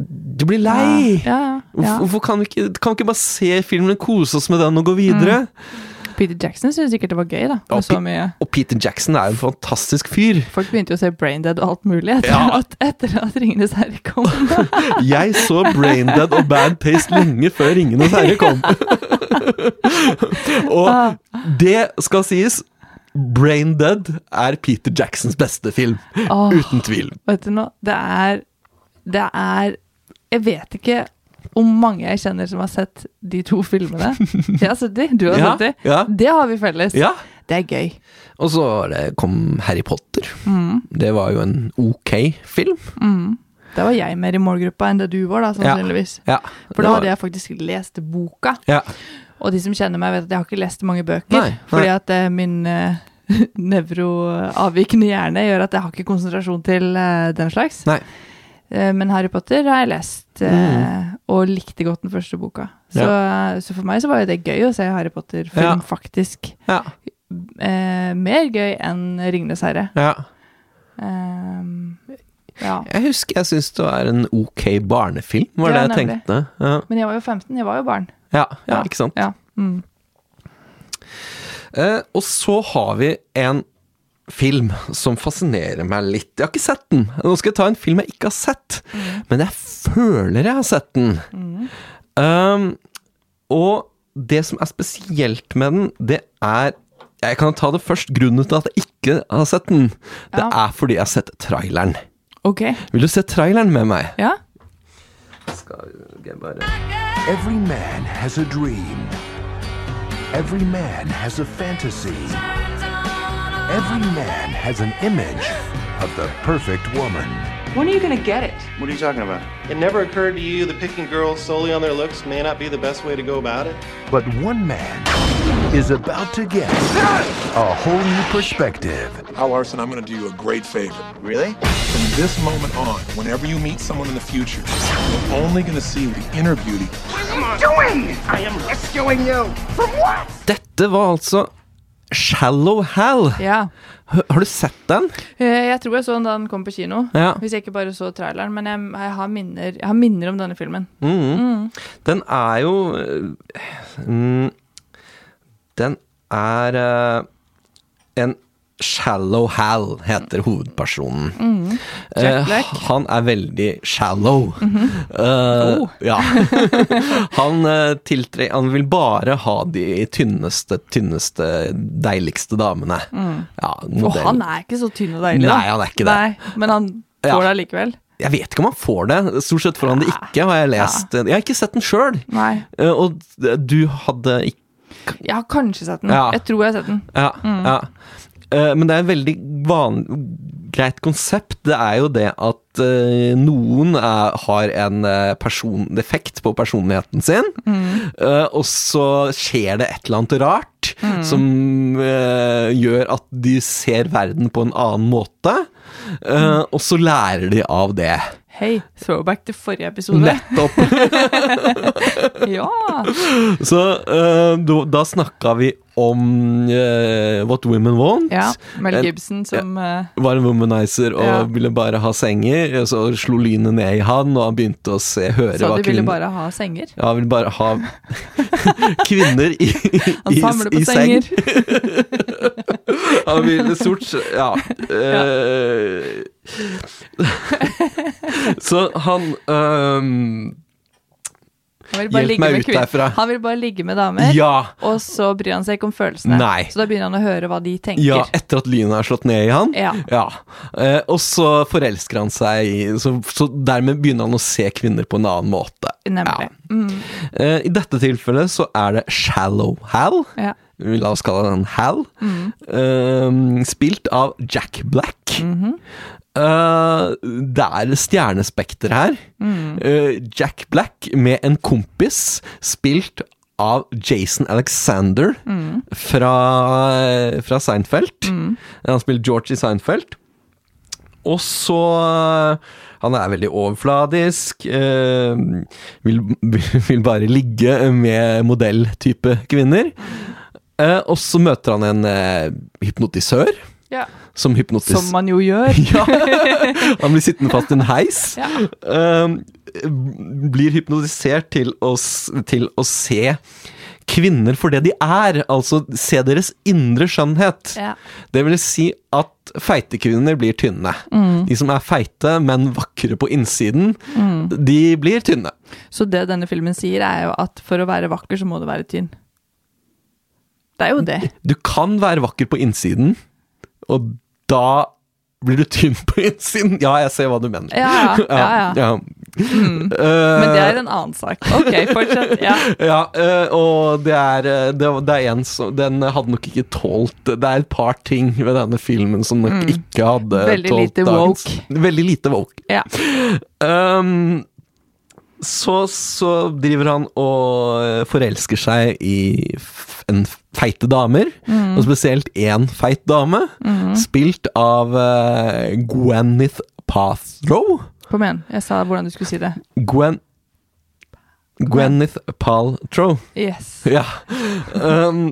du blir lei! Ja, ja, Hvorfor, ja. hvorfor kan, vi ikke, kan vi ikke bare se filmen, kose oss med den og gå videre? Mm. Peter Jackson syntes sikkert det var gøy, da. Ja, Med så Pe- mye Og Peter Jackson er en fantastisk fyr. Folk begynte jo å se Braindead og alt mulig etter Ja. at, etter at Ringenes herre kom. Jeg så Braindead og Bad Taste lenge før Ringenes herre kom. Ah. og det skal sies, Braindead er Peter Jacksons beste film. Åh. Uten tvil. Vet du nå, det er Det er Jeg vet ikke om mange jeg kjenner som har sett de to filmene. Jeg har sett de, du har Ja, sett de. ja. Det har vi felles. Ja. Det er gøy. Og så var det- kom Harry Potter. Mm. Det var jo en ok film. Da var jeg mer i målgruppa enn det du var, da, sannsynligvis. Ja. For da hadde jeg faktisk lest boka. ja. Og de som kjenner meg, vet at jeg har ikke lest mange bøker. Nei, nei. Fordi at eh, min eh, nevroavvikende hjerne gjør at jeg har ikke konsentrasjon til eh, den slags. Nei. Eh, men Harry Potter har jeg lest, eh, Mm. og likte godt den første boka. Så, eh, så for meg så var jo det gøy å se Harry Potter-film, Ja. faktisk. ja. Eh, mer gøy enn Ringenes herre. ja. Eh, ja. Jeg husker jeg syns det var en ok barnefilm, var Ja, det jeg nemlig. tenkte. Ja, Men jeg var jo 15, jeg var jo barn. ja, ja ikke sant. Ja. Mm. Eh, og så har vi en film som fascinerer meg litt. Jeg har ikke sett den. Nå skal jeg ta en film jeg ikke har sett, men jeg føler jeg har sett den. Um, og det som er spesielt med den, det er Jeg kan ta det først. Grunnen til at jeg ikke har sett den, det Ja. er fordi jeg har sett traileren. Ok. Vil du se traileren med meg? Ja. Skal jeg bare... Every man has a dream. Every man has a fantasy. Every man has an image of the perfect woman. What are you talking about? It never occurred to you that picking girls solely on their looks may not be the best way to go about it? But one man is about to get a whole new perspective. Hal Larson, I'm going to do you a great favor. Really? From this moment on, whenever you meet someone in the future, you're only going to see the inner beauty Dette var altså Shallow Hal. ja. H- Har du sett den? Eh, Jeg tror jeg så den da den kom på kino. Ja. Hvis jeg ikke bare så traileren. Men jeg, jeg, har minner, jeg har minner om denne filmen. Mm. Den er jo øh, mm, Den er øh, en Shallow Hal heter hovedpersonen. Eh, Mm. Jack Black. Mhm. han er veldig shallow. Eh, Oh. ja. han, eh, tiltre, han vil bare ha de tynneste, tynneste, deiligste damene. Ja, Mm. Og modell- han er ikke så tynn og deilig, Nei, han er ikke det. Nei, men han får Ja. det allikevel. Jeg vet ikke om han får det. Stort sett får han det ikke, har jeg lest. Jeg har ikke sett den sjøl. Eh, Nei. Og du hadde ikke Jeg har kanskje sett den. Ja. Jeg tror jeg har sett den. Ja. ja. Eh, Men det er et veldig van greit konsept. Det er jo det at eh, noen er, har en eh, person defekt på personligheten sin, eh, og så skjer det et eller annet rart som eh, gjør at de ser verden på en annen måte, eh, og så lærer de av det. Hei, throwback til forrige episode. Nettopp. Ja. Så eh, da, da snakka vi om eh, What Women Want. ja. Mel En- Gibson som eh, var en womanizer og Ja. ville bare ha senger. og Så slo lynet ned i han, og han begynte å se, høre sa hva de ville kvinner bare ha senger. ja, han ville bare ha kvinner i, i, Han i, samler på i seng. senger. Han ville stort sett Ja. eh, eh, så han ehm, Han vil bare Hjelp ligge meg med ut kvin- derfra. Han vil bare ligge med damer, Ja. og så bryr han seg ikke om følelsene. Nei. Så da begynner han å høre hva de tenker. Ja, etter at lynet er slått ned i han. Ja. Eh, og så forelsker han seg i så, så dermed begynner han å se kvinner på en annen måte. Nemlig. Ja. Mm. Eh, I dette tilfellet så er det Shallow Hal. Ja. Vi La oss kalle den Hal. Eh, spilt av Jack Black. Eh, det er stjernespekter her. Eh, Jack Black med en kompis, spilt av Jason Alexander fra, fra Seinfeld. Han spiller George i Seinfeld. Og så eh, Han er veldig overfladisk. eh, vil, vil bare ligge med modelltype kvinner. Eh, og så møter han en eh, hypnotisør. Ja. Som hypnotiserer Som man jo gjør. han blir sittende fast i en heis. Ja. Ehm, blir hypnotisert til å, s- til å se kvinner for det de er. Altså se deres indre skjønnhet. Ja. Det vil si at feite kvinner blir tynne. Mm. De som er feite, men vakre på innsiden, Mm. de blir tynne. Så det denne filmen sier, er jo at for å være vakker, så må du være tynn. Det er jo det. Du kan være vakker på innsiden, og da blir du tynn på innsiden. Ja, jeg ser hva du mener. Eh, Ja, ja, ja, ja. Mm. Men det er en annen sak. Ok, fortsett. Ja. Ja, eh, og det er, eh, det, det er en som Den hadde nok ikke tålt Det er et par ting ved denne filmen som nok Mm. ikke hadde Veldig tålt lite dagens- Veldig lite woke. Ja. Ehm, så, så driver han og eh, forelsker seg i f- en f- feite damer, Mm. og spesielt én feit dame, Mhm. spilt av eh, Gwyneth Paltrow. Kom igjen. Jeg sa hvordan du skulle si det. Gwen Gwyneth Paltrow. Yes. Ja. Um,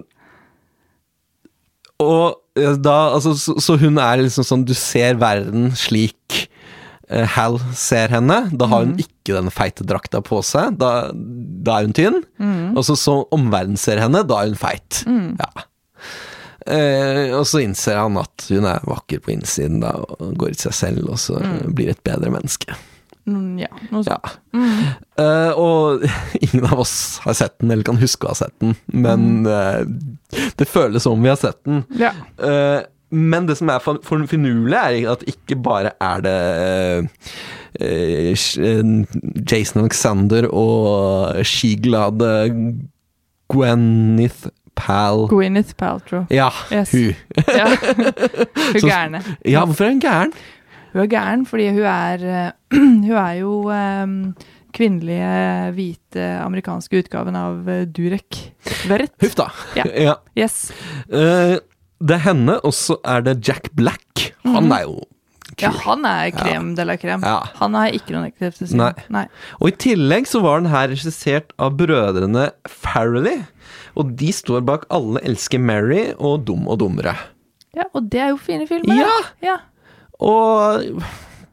og eh, da Altså, så, så hun er liksom sånn Du ser verden slik eh, Hal ser henne. Da har Mhm. hun ikke den feite drakta på seg. Da, da er hun tynn. Mhm. Og så, så omverdenen ser henne, da er hun feit. Mhm. Ja. Eh, og så innser han at hun er vakker på innsiden da, og går i seg selv, og så eh, Mhm. blir et bedre menneske. Mm, ja. Noe sånt. Eh, og ingen av oss har sett den, eller kan huske å ha sett den, men eh, det føles som om vi har sett den. Ja. Eh, men det som er for- for- finurlig, er at ikke bare er det eh, eh, Sh- eh, Jason Alexander og skiglade Gwyneth Pal Gwyneth Paltrow. Ja, Yes. hun. Ja. Hun Så- gærne. Ja, hvorfor er hun gæren? Hun er gæren fordi hun er eh, Hun er jo eh, kvinnelige, hvite, amerikanske utgaven av eh, Durek Verrett. Huff da. Ja. Ja. Yes. Eh, det er henne, og så er det Jack Black. Han Mhm. er jo Ja, han er krem de la krem. Ja. Han har jeg ikke noe negativt til å si. Nei. Nei. Og i tillegg så var den her regissert av brødrene Farrelly. Og de står bak Alle elsker Mary og Dum og dummere. Ja, og det er jo fine filmer. Ja! ja. Og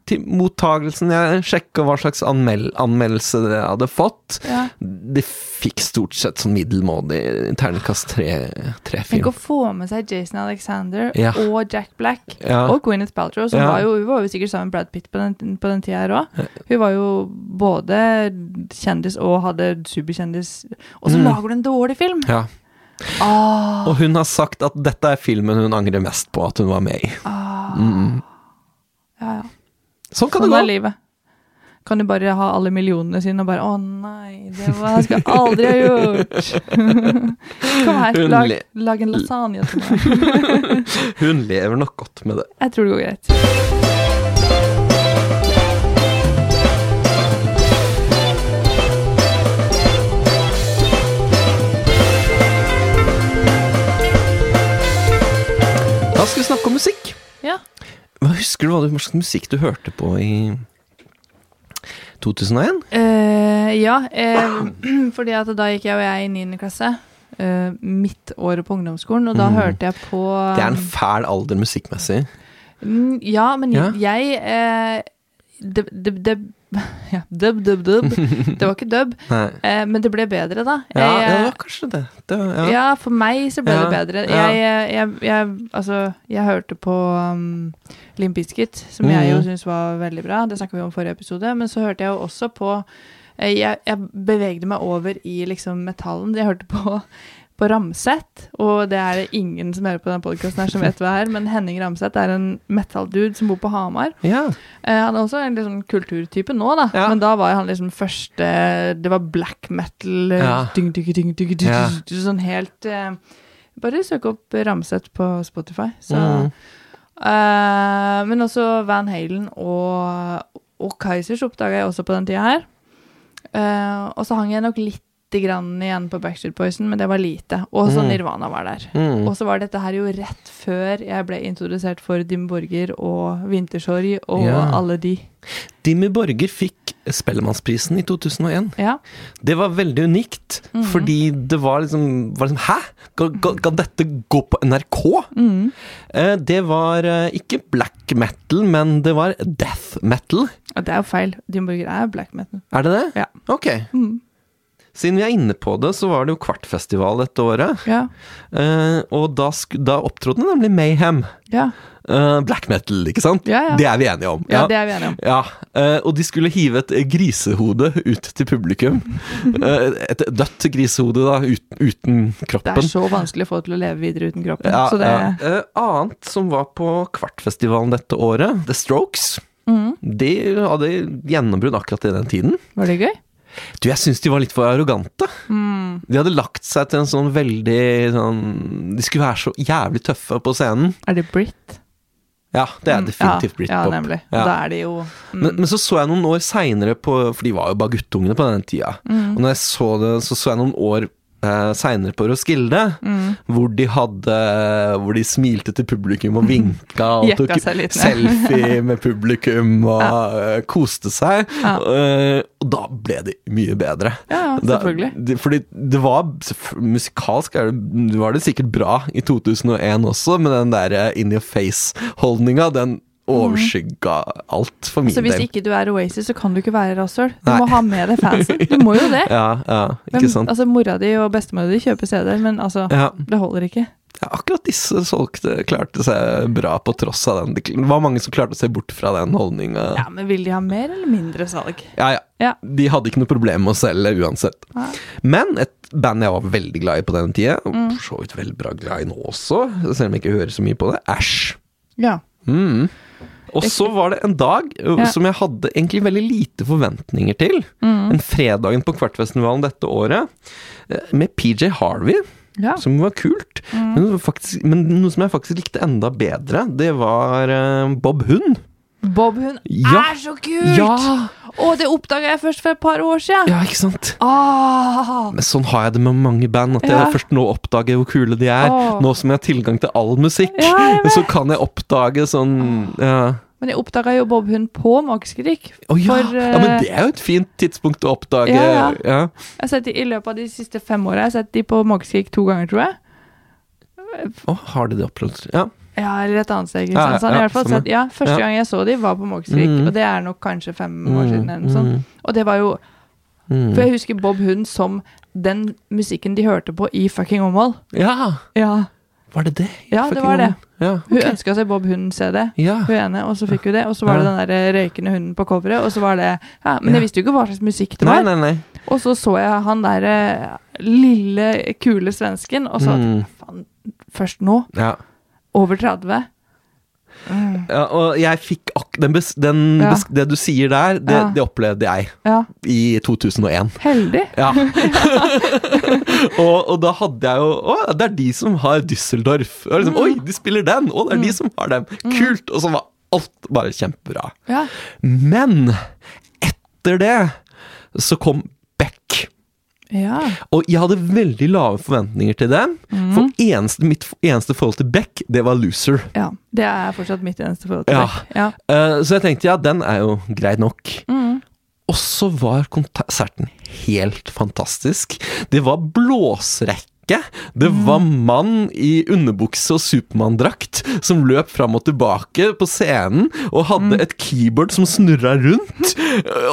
til mottagelsen Jeg sjekka hva slags anmel anmeldelse det hadde fått. Ja. Det fikk stort sett sånn middelmådig terningkast Tenk å tre-film. få med seg Jason Alexander Ja. og Jack Black Ja. og Gwyneth Paltrow, som Ja. var jo, hun var jo sikkert sammen med Brad Pitt på den, på den tida her òg. Hun var jo både kjendis og hadde superkjendis. Og så Mm. lager du en dårlig film! Ja. Ah, Og hun har sagt at dette er filmen hun angrer mest på at hun var med i. ah, Mm. ja, ja. Sånn kan sånn det er gå. livet. Kan du bare ha alle millionene sine og bare 'Å nei, det var jeg skal aldri ha gjort'. Kom her, Hun lag, le- lag en lasagne til meg. Hun lever nok godt med det. Jeg tror det går greit. Da skal vi snakke om musikk. Ja. Hva Husker du hva du- hva slags musikk du hørte på i 2001? Eh, ja, eh, fordi at da gikk jeg og jeg i 9. klasse. eh, mitt år på ungdomsskolen, og da Mm. hørte jeg på Det er en fæl alder musikkmessig. Mm, Ja, men Ja. jeg eh, det, det, det, ja, dub, dub, dub. Det var ikke dub, Nei. eh, men det ble bedre, da. Eh, Ja, Jeg, ja, det var kanskje det. det var, ja. Eh, ja. for meg så ble Ja, det bedre. ja. Jeg, jeg, jeg, altså, jeg hørte på um, Limp Bizkit, som jeg jo Mhm. syns var veldig bra. Det snakka vi om i forrige episode. Men så hørte jeg jo også på eh, jeg, jeg bevegde meg over i liksom metallen. Jeg hørte på, på Ramset, og det er det ingen som hører på denne podkasten her som vet hva er, men Henning Ramset er en metal-dude som bor på Hamar. Ja. Eh, han er også en liksom kulturtype nå, da, men da var han liksom første Det var black metal, eh, Ja. dyng, dyng, dyng, dyng, dyng, Ja. sånn helt eh, Bare søk opp Ramset på Spotify, så Mm. eh, Men også Van Halen og, og Kaizers oppdaga jeg også på den tida her. Eh, og så hang jeg nok litt grann igjen på Backstreet Boysen, men det var lite. Og så Mm. Nirvana var der. Mm. Og så var dette her jo rett før jeg ble introdusert for Dim Borger og Vintersorg og Ja. alle de. Dimmy Borger fikk Spellemannsprisen i 2001. Ja. Det var veldig unikt, Mhm. fordi det var liksom, var liksom Hæ? Kan, kan, kan dette gå på NRK? Mm. Eh, det var eh, ikke black metal, men det var death metal. Og det er jo feil. Dim Borger er black metal. Er det det? Ja. Ok. Mm. Siden vi er inne på det, så var det jo kvartfestival dette året. Ja. Eh, og da, sk- da opptrådte nemlig Mayhem. Ja. Eh, black metal, ikke sant? Ja, ja. Det er vi enige om. Ja, det er vi enige om. Ja, eh, og de skulle hive et grisehode ut til publikum. Eh, Et dødt grisehode, da, ut- uten Det kroppen. er så vanskelig å få til å leve videre uten kroppen. Ja, så det ja. Eh, Annet som var på Kvartfestivalen dette året, The Strokes. Mhm. De hadde gjennombrudd akkurat i den tiden. Var det gøy? Du, jeg syns de var litt for arrogante. Mm. De hadde lagt seg til en sånn veldig sånn De skulle være så jævlig tøffe på scenen. Er det Brit? Ja, det er definitivt Mm. ja, britpop. Ja, nemlig. Ja. Da er det jo mm. Men, men så så jeg noen år seinere på For de var jo bare guttungene på den tida. Mm. Og når jeg så det, så så jeg noen år eh, seinere på Roskilde, Mm. hvor de hadde Hvor de smilte til publikum og vinka og Jekka tok seg litt ned. selfie med publikum og eh, koste seg. Ja. Eh, og da ble de mye bedre. Ja, ja, Da- selvfølgelig. det, fordi det var selvf- Musikalsk er det, var det sikkert bra i 2001 også, men den der eh, in your face-holdninga, den overskygga alt for min Mhm. Så hvis del. ikke du er Oasis, så kan du ikke være rasshøl. Du Nei. må ha med deg fansen. Du må jo det. Ja, ja, ikke Hvem- sant. Altså, Mora di og bestemora di kjøper CD-er, men altså, Ja. det holder ikke. Ja, akkurat disse solgte, klarte seg bra på tross av den. Det var mange som klarte å se bort fra den holdninga. Ja, Men vil de ha mer eller mindre salg? Ja, ja. Ja. De hadde ikke noe problem med å selge uansett. Nei. Men et band jeg var veldig glad i på den tida, og Mm. for så vidt veldig bra glad i nå også, selv om jeg ikke hører så mye på det, Æsj. Ja. Mm. Og så var det en dag ø, Ja. som jeg hadde egentlig veldig lite forventninger til. Mm. En fredagen på Kvartfestivalen dette året, eh, med PJ Harvey. Ja. Som var kult. Mm. Men, det var faktisk, men noe som jeg faktisk likte enda bedre, det var eh, Bob Hund. Bob Hund Ja. er så kult! Ja. Å, det oppdaga jeg først for et par år siden. Ja, ikke sant? Ah. Men sånn har jeg det med mange band, at jeg Ja. først nå oppdager hvor kule de er. Åh. Nå som jeg har tilgang til all musikk, Ja, jeg vet. så kan jeg oppdage sånn ja. Men jeg oppdaga jo Bob Hund på Makeskrik. Å ja. For, eh, ja, men det er jo et fint tidspunkt å oppdage. Ja, ja. ja. jeg har sett de, I løpet av de siste fem åra har jeg sett de på Makeskrik to ganger, tror jeg. Å, har de det opprådd? Ja. Ja, eller et annet sted. ikke Ja, sant? Så ja, han har i hvert fall samme. sett, ja, Ja. første gang jeg så de var på Måkesvik, Mm. og det er nok kanskje fem år siden. eller noe Mm, mm. sånt. Og det var jo Mm. For jeg husker Bob Hund som den musikken de hørte på i fucking Åmål. ja, Ja. var det det? Ja, det Fucking var det. Ja, Hun ok. ønska seg Bob Hund-CD, Ja. hun ene, og så fikk hun det. Og så var det den der røykende hunden på coveret, og så var det ja, Men Ja. jeg visste jo ikke hva slags musikk det Nei, var. nei, nei. Og så så jeg han der eh, lille, kule svensken, og så Mm. Faen, først nå? Ja. Over 30? Ja, og jeg fikk ak den bes den Ja. bes det du sier der, det, Ja. det opplevde jeg Ja. i 2001. Heldig. Ja. og, og da hadde jeg jo Å, det er de som har Düsseldorf. Og Mm. liksom, Oi, de spiller den! Å, det er de som har dem! Kult! Og så var alt bare kjempebra. Ja. Men etter det så kom Beck. ja. Og jeg hadde veldig lave forventninger til dem. For eneste, mitt eneste forhold til Beck, det var Loser. Ja, det er fortsatt mitt eneste forhold til Ja. deg. Ja. Eh, så jeg tenkte ja, den er jo grei nok. Mm. Og så var konserten helt fantastisk. Det var blåsrekke. Det var mann i underbukse og Supermann-drakt som løp fram og tilbake på scenen og hadde et keyboard som snurra rundt.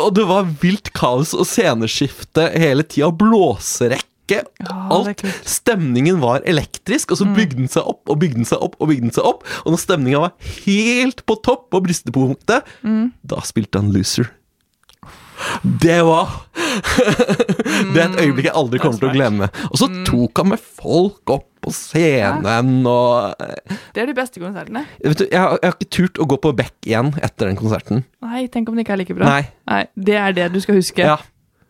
Og det var vilt kaos og sceneskifte hele tida. Blåserekke. Alt. Stemningen var elektrisk, og så bygde den seg opp og bygde den seg opp. Og bygde den seg opp Og når stemninga var helt på topp på bristepunktet, da spilte han Loser. Det var Det er et øyeblikk jeg aldri kommer til å glemme. Og så tok han med folk opp på scenen og eh, Det er de beste konsertene. Vet du, jeg, har- jeg har ikke turt å gå på Beck igjen etter den konserten. Nei, tenk om det ikke er like bra. Nei. Det er det du skal huske. Ja.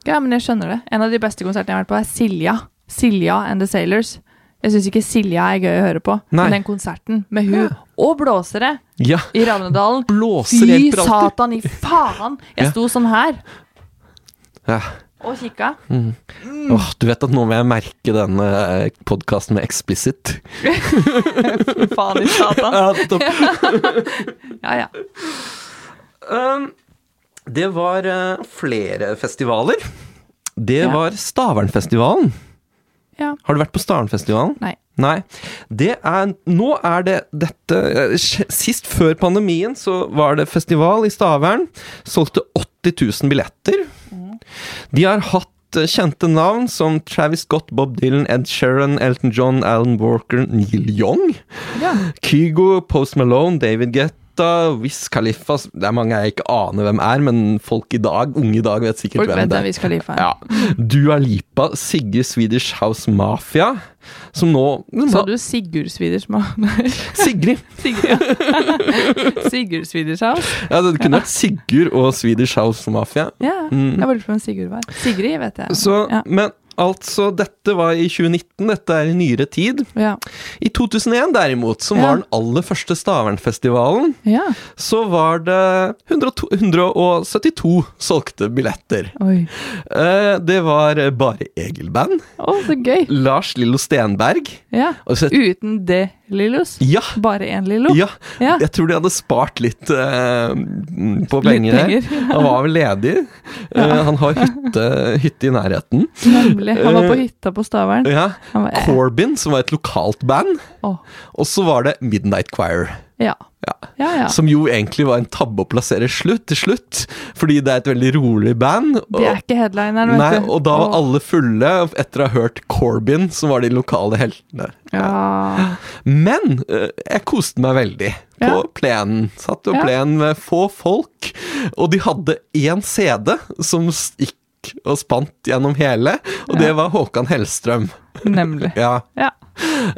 Ja, men jeg skjønner det. En av de beste konsertene jeg har vært på, er Silja. Silja and the Sailors. Jeg syns ikke Silja er gøy å høre på, Nei. men den konserten med hun og blåsere Ja. i Ravnedalen Blåser Fy hjelper alltid. satan i faen! Ja. Jeg sto sånn her Ja. og kikka. Mm. Åh, du vet at nå må jeg merke denne podkasten med explicit. Fy faen i satan. Ja, topp. Ja, ja. Um, det var eh, flere festivaler. Det var Stavernfestivalen. Ja. Har du vært på Stavernfestivalen? Nei. Nei. Det er, nå er det dette eh, sj- Sist før pandemien så var det festival i Stavern. Solgte 80 000 billetter. Mm. De har hatt eh, kjente navn som Travis Scott, Bob Dylan, Ed Sheeran, Elton John, Alan Walker, Neil Young. ja. Kygo, Post Malone, David Guetta, Wiz Khalifa Det er mange jeg ikke aner hvem er, men folk i dag, unge i dag, vet sikkert Folk hvem vet det hvem er. Wiz Khalifa er. Ja. Dua Lipa, Sigge Swedish House Mafia, som nå Sa du Sigurd Swedish House? Sigrid! Sigurd, ja. Sigurd Swedish House? Ja, det kunne vært Sigurd og Swedish House Mafia. Ja. Mm. Jeg bare lurte på hvem Sigurd var. Sigrid vet jeg. Så, ja. Men altså, dette var i 2019, dette er i nyere tid. Ja. I 2001 derimot, som Ja. var den aller første Stavernfestivalen, ja. så var det 102 172 solgte billetter. Oi. Eh, Det var Bare Egil-band. Å, så gøy. Lars Lillo Stenberg. Ja. Og så- Uten det, Lillos. Ja! Bare én Lillo. Ja, Ja. jeg tror de hadde spart litt eh, på Litt penger. her. penger, ja. Han var vel ledig. Eh, han har hytte, hytte i nærheten. Nemlig. Han var på Eh, hytta på Stavern. Ja. Han var- Corbin, som var et lokalt band. Å, Og så var det Midnight Choir. ja. Ja. Ja, ja. Som jo egentlig var en tabbe å plassere slutt til slutt, fordi det er et veldig rolig band. Det er ikke headlineren, vet Nei, du. og da var Å, alle fulle etter å ha hørt Corbin, som var de lokale heltene. ja. Men eh, jeg koste meg veldig på Ja. plenen. Satt på Ja. plenen med få folk, og de hadde én CD som gikk og spant gjennom hele, og det var Håkan Hellstrøm. Nemlig. Ja. Ja.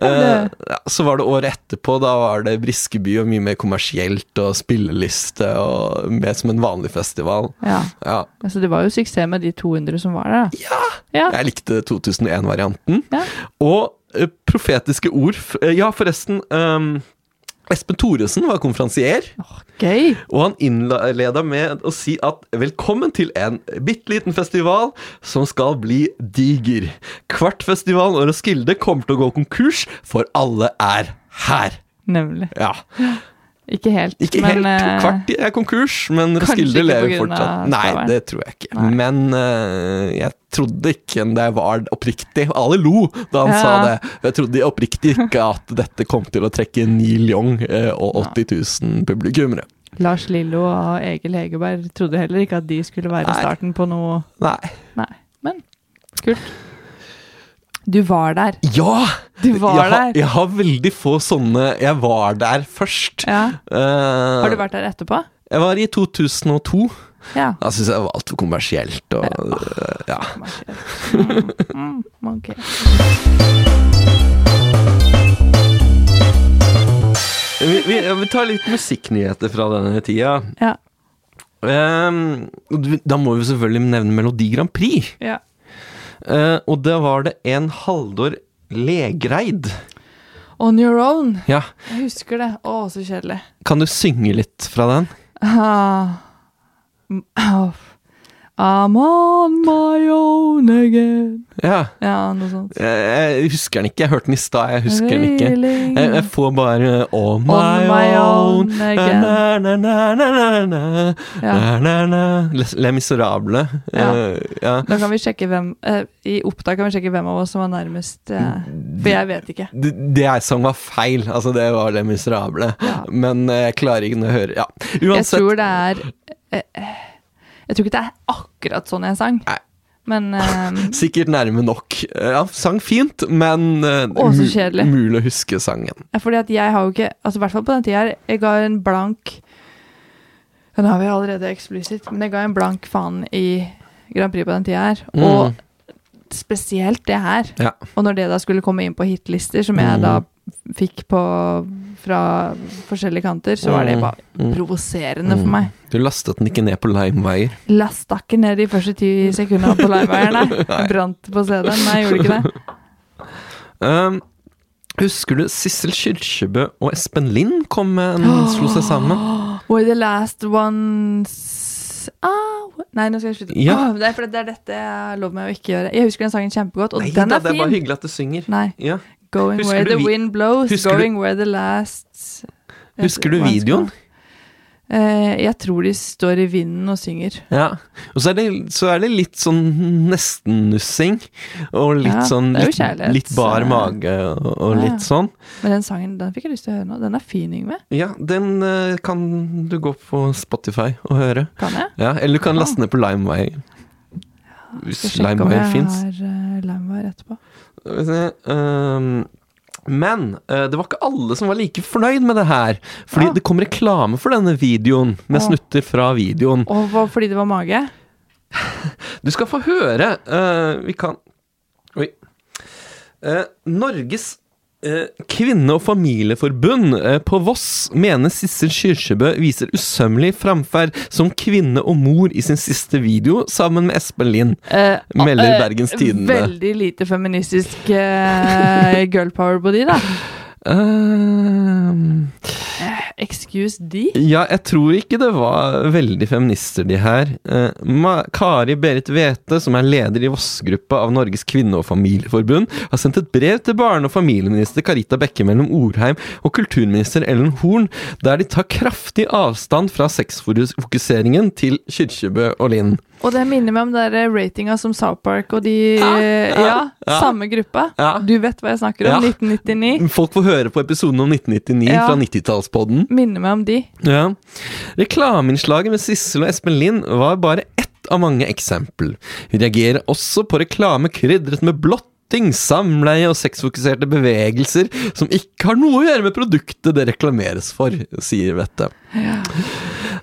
Eh, ja, så var det året etterpå, da var det Briskeby og mye mer kommersielt, og spilleliste og mer som en vanlig festival. ja. Ja. Altså, det var jo suksess med de 200 som var der, da. ja. Ja. Jeg likte 2001-varianten. Ja. Og eh, profetiske ord f- eh, Ja, forresten. ehm, Espen Thoresen var konferansier, Gøy. og han innleda med å si at velkommen til en bitte liten festival som skal bli diger. Kvartfestivalen og Roskilde kommer til å gå konkurs, for alle er her. Nemlig. Ja. Ikke helt, Ikke men helt eh, kvart er konkurs, men kanskje Roskilde ikke lever på grunn av fortsatt. Nei, Stavern. det tror jeg ikke. Nei. Men eh, jeg trodde ikke da jeg var oppriktig Alle lo da han Ja. sa det. Jeg trodde oppriktig ikke at dette kom til å trekke Neil Young eh, og 80 000 publikummere. Lars Lillo og Egil Hegerberg trodde heller ikke at de skulle være Nei. starten på noe Nei. Nei. Men kult. Du var der. Ja! Du var jeg, har, der. jeg har veldig få sånne Jeg var der først. Ja. Eh, Har du vært der etterpå? Jeg var i 2002. Ja. Da syns jeg det var altfor kommersielt. Og, eh, ja. Mm, ok. vi, vi, vi tar litt musikknyheter fra denne tida. Ja. Ehm, og du- da må vi selvfølgelig nevne Melodi Grand Prix. ja. Eh, og da var det en Haldor Legreid. On your own. Ja, Jeg husker det. Å, så kjedelig. Kan du synge litt fra den? Ah. Mm, ah. I'm on my own again. Ja. Ja, noe sånt. Eh, Jeg husker den ikke. Jeg hørte den i stad. Jeg husker den ikke. Really? Jeg, jeg får bare On my, my own, own again. na, na, na, na, na, na, Ja. na, na, na. Les, Les Miserable. Ja. Eh, ja. Da kan vi sjekke hvem eh, I opptak kan vi sjekke hvem av oss som var nærmest eh, For jeg vet ikke. det, det jeg sang var feil. Altså, det var det miserable. Ja. Men eh, jeg klarer ikke å høre Ja, Jeg uansett. tror det er eh, eh, Jeg tror ikke det er akkurat sånn jeg sang. Nei. Men eh, Sikkert nærme nok. Eh, Han sang fint, men eh, Å, så mu- kjedelig. mulig å huske sangen. fordi at jeg har jo ikke Altså i hvert fall på den tida her, jeg ga en blank Den har vi allerede eksplisitt, men det ga en blank faen i Grand Prix på den tida her. Mm. Og spesielt det her. Ja. Og når det da skulle komme inn på hitlister, som jeg Mm. da fikk på fra forskjellige kanter, så var det Mm. bare Mm. provoserende for meg. Du lastet den ikke ned på limewire. Lasta ikke ned de første ti sekundene på liveieren, nei. Nei. Brant på CD-en. Nei, jeg gjorde ikke det. Um, husker du Sissel Kyrkjebø og Espen Lind kom med en slo seg sammen? Were the last ones Au! Nei, nå skal jeg slutte. Ja. Åh, det, er fordi det er dette jeg lover meg å ikke gjøre. Jeg husker den sangen kjempegodt, og Nei den da, er det er bare fin. hyggelig at du synger. Nei. Ja. Going Husker where du the vi- wind blows, Husker du- going where the last Husker du Hva skal- videoen? Eh, jeg tror de står i vinden og synger. Ja. Og så er, det, så er det litt sånn nesten-nussing. Og litt Ja, sånn det er jo litt, kjærlighets- litt bar mage og, og Ja, ja. litt sånn. Men den sangen den fikk jeg lyst til å høre nå. Den er fin, Yngve. Ja, den eh, kan du gå på Spotify og høre. Kan jeg? Ja, eller du kan laste ned på LimeWire. Hvis Skal sjekke om LimeWire jeg fins. har uh, Limewire etterpå. ehm, Men eh, det var ikke alle som var like fornøyd med det her. Fordi det kom reklame for denne videoen, med Å. snutter fra videoen. Og hva- fordi det var mage? Du skal få høre. eh, vi kan Oi. Eh, Norges eh, kvinne- og familieforbund eh, på Voss mener Sissel Kyrkjebø viser usømmelig framferd som kvinne og mor i sin siste video sammen med Espen Lind, Eh, melder eh, Bergens Tidende. Veldig lite feministisk eh, girl power på de, da. Ehm, Excuse de. ja, jeg tror ikke det var veldig feminister, de her. Eh, Ma Kari Berit Wete, som er leder i Voss-gruppa av Norges kvinne- og familieforbund, har sendt et brev til barne- og familieminister Karita Bekke mellom Orheim og kulturminister Ellen Horn, der de tar kraftig avstand fra sexfokuseringen til Kyrkjebø og Lind. Og det minner meg om den der ratinga som South Park og de eh, Ja, ja. samme gruppa. Ja. Du vet hva jeg snakker om. Ja. 1999. Folk får høre på episoden om 1999 Ja. fra 90-tallspodden. Minner meg om de. Ja. Reklameinnslaget med Sissel og Espen Lind var bare ett av mange eksempel. Vi reagerer også på reklame krydret med blotting, samleie og sexfokuserte bevegelser som ikke har noe å gjøre med produktet det reklameres for, sier Vette.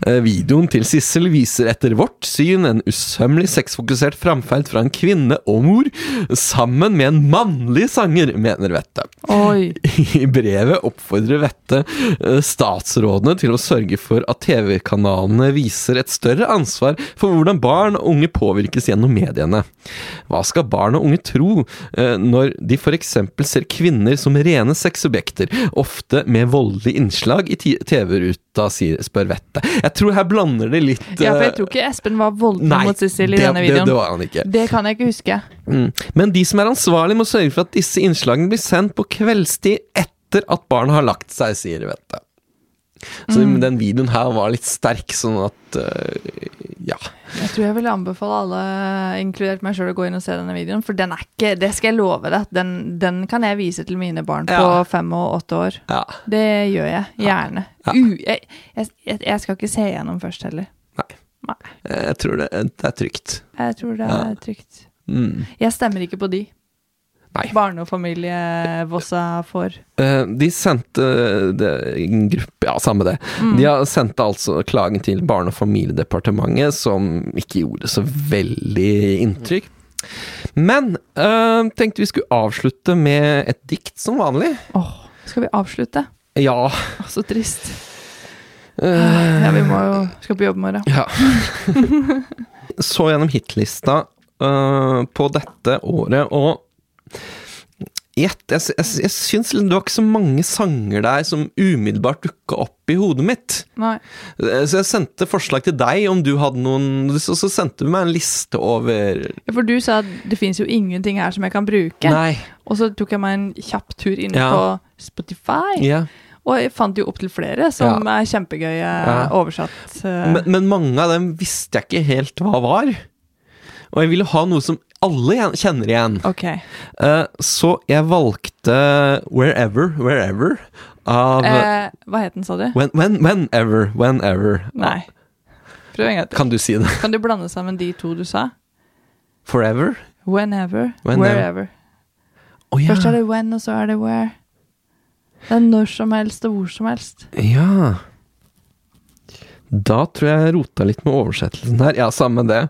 Eh, Videoen til Sissel viser etter vårt syn en usømmelig sexfokusert framferd fra en kvinne og mor, sammen med en mannlig sanger, mener Vette. Oi. I brevet oppfordrer Vette eh, statsrådene til å sørge for at TV-kanalene viser et større ansvar for hvordan barn og unge påvirkes gjennom mediene. Hva skal barn og unge tro eh, når de f.eks. ser kvinner som rene sexobjekter, ofte med voldelige innslag i ti- TV-ruta, sier- spør Vette. Jeg tror her blander det litt Ja, for eh, jeg tror ikke Espen var voldelig Nei, mot Sissel i det- denne det- videoen. det var han ikke. Det kan jeg ikke huske. Mm. Men de som er ansvarlige må sørge for at disse innslagene blir sendt på kveldstid etter at barna har lagt seg, sier Vette. Så den videoen her var litt sterk, sånn at øh, Ja. Jeg tror jeg ville anbefale alle, inkludert meg sjøl, å gå inn og se denne videoen. For den er ikke Det skal jeg love deg. at Den, den kan jeg vise til mine barn på Ja. fem og åtte år. ja. Det gjør jeg. Gjerne. Ja. U, jeg, jeg, jeg skal ikke se gjennom først heller. Nei. Nei. Jeg tror det, det er trygt. Jeg tror det er trygt. Mm. Jeg stemmer ikke på de. Nei. Barne- og familievossa får. Eh, De sendte eh, det, en gruppe, ja, samme det. De har sendte altså klagen til Barne- og familiedepartementet, som ikke gjorde så veldig inntrykk. Men eh, tenkte vi skulle avslutte med et dikt, som vanlig. Åh, skal vi avslutte? Ja. Åh, så trist. Ah, eh, Ja, vi må jo Skal på jobb i morgen. ja. Så gjennom hitlista eh, på dette året, og Gjett, jeg, sy- jeg, sy- jeg syns liksom det var ikke så mange sanger der som umiddelbart dukka opp i hodet mitt. Nei. Eh, Så jeg sendte forslag til deg om du hadde noen Så, så sendte du meg en liste over Ja, For du sa at det fins jo ingenting her som jeg kan bruke. Nei. Og så tok jeg meg en kjapp tur inn Ja. på Spotify, Ja. og jeg fant jo opptil flere som er kjempegøye Ja. oversatt. eh, Men, men mange av dem visste jeg ikke helt hva var. Og jeg ville ha noe som alle gjen- kjenner igjen. ok. Eh, Så jeg valgte Wherever, Wherever av Eh, hva het den, sa du? when, when, Whenever, Whenever. Nei. Prøv en gang til. Kan du si det? Kan du blande sammen de to du sa? Forever? Whenever, Whenever. wherever. Å ja. Først er det when, og så er det where. Det er når som helst og hvor som helst. ja. Da tror jeg jeg rota litt med oversettelsen her. Ja, samme det.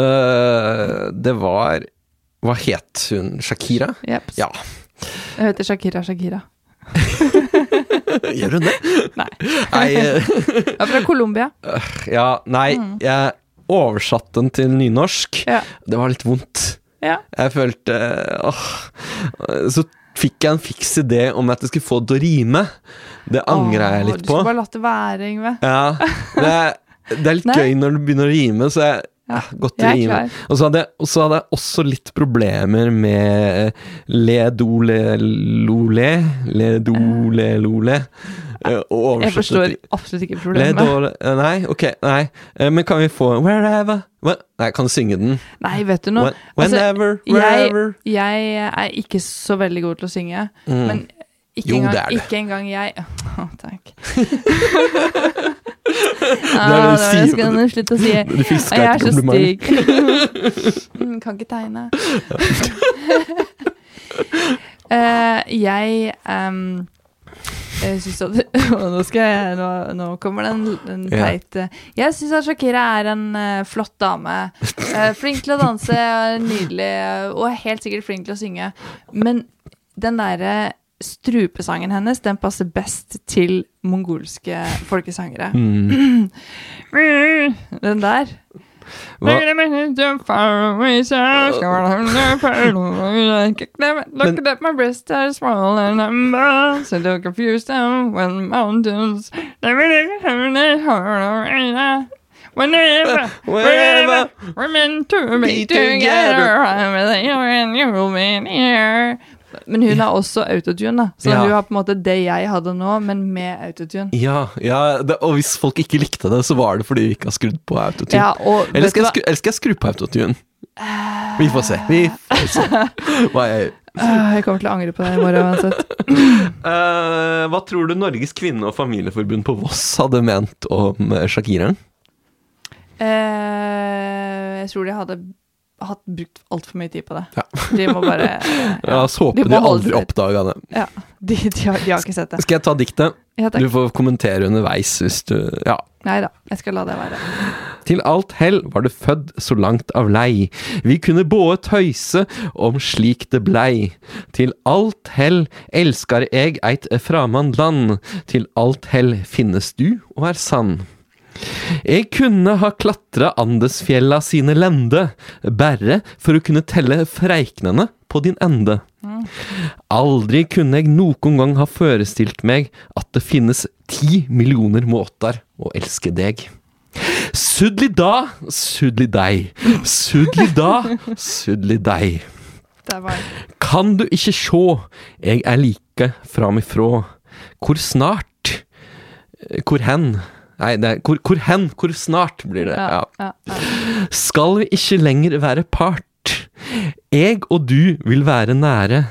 Eh, det var Hva het hun? Shakira? Jepp. Ja. Jeg heter Shakira Shakira. Gjør hun det? Nei. Nei, eh, Jeg er fra Colombia. ja, nei jeg oversatte den til nynorsk. Mm. Ja. Det var litt vondt. Ja. Jeg følte åh. Så fikk jeg en fiks idé om at jeg skulle få det til å rime. Det angra jeg Åh, litt Du på. skulle bare latt det være, Yngve. Ja, det er, det er litt Nei. gøy når det begynner å rime, så jeg ja, godt jeg er rime. klar. Og så, hadde jeg, og så hadde jeg også litt problemer med eh, le do le lo le, le do le lo le. eh, Og Jeg oversette forstår til- absolutt ikke le problemet. do le eh, Nei, ok, nei. Eh, Men kan vi få Wherever Hva- Nei, jeg kan synge den. Nei, vet du noe? When- Whenever, wherever. altså, Jeg, jeg er ikke så veldig god til å synge, Mm. men ikke, Jo, engang, det er du. ikke engang jeg Å, takk. du Ah, nå sier, skal men jeg slutte å si du- du fisker Jeg er etter så stygg. komplimenter. Mm, kan ikke tegne. Eh, jeg um, jeg synes at Nå skal jeg Nå, nå kommer det en, en Ja. teit eh, Jeg syns at Shakira er en eh, flott dame. Eh, flink til å danse, er nydelig eh, og er helt sikkert flink til å synge. Men den derre strupesangen hennes, den passer best til mongolske folkesangere. Mm. Den der. Hva- Look at my breasts are small and I'm bald, so don't confuse them when mountains. Whenever, wherever, we're meant to be together, I'm with you and you'll be near. Men hun er også autotune, da. Så Ja. hun har på en måte det jeg hadde nå, men med autotune. Ja, ja det, og hvis folk ikke likte det, så var det fordi vi ikke har skrudd på autotune. Ja, og eller, vet du skal jeg hva- skru, eller skal jeg skru på autotune? Vi får se. Vi får se. Hva, jeg, Ah, Jeg kommer til å angre på det i morgen uansett. Eh, hva tror du Norges kvinne- og familieforbund på Voss hadde ment om eh, Shakira? Eh, jeg tror de hadde hatt brukt altfor mye tid på det. De må bare La oss håpe De de, må holde aldri det. oppdaga det. Ja, de, de, har, de har ikke sett det. Skal jeg ta diktet? Ja, takk. du får kommentere underveis hvis du Ja. Nei da, jeg skal la det være. Til alt hell var det fødd så langt av lei. Vi kunne båe tøyse om slik det blei. Til alt hell elskar eg eit framand land. Til alt hell finnes du og er sann. Eg kunne ha klatra Andesfjella sine lende, berre for å kunne telle freiknene på din ende. Aldri kunne eg noen gang ha forestilt meg at det finnes ti millioner måter å elske deg. Sudli da, sudli deg. Sudli da, sudli deg. Der var jeg. Kan du ikke sjå, jeg er like framifrå. Hvor snart? Eh, Hvor hen? Nei, det er hvor, hvor hen, hvor snart blir det. Ja, ja, Skal vi ikke lenger være part? Jeg og du vil være nære.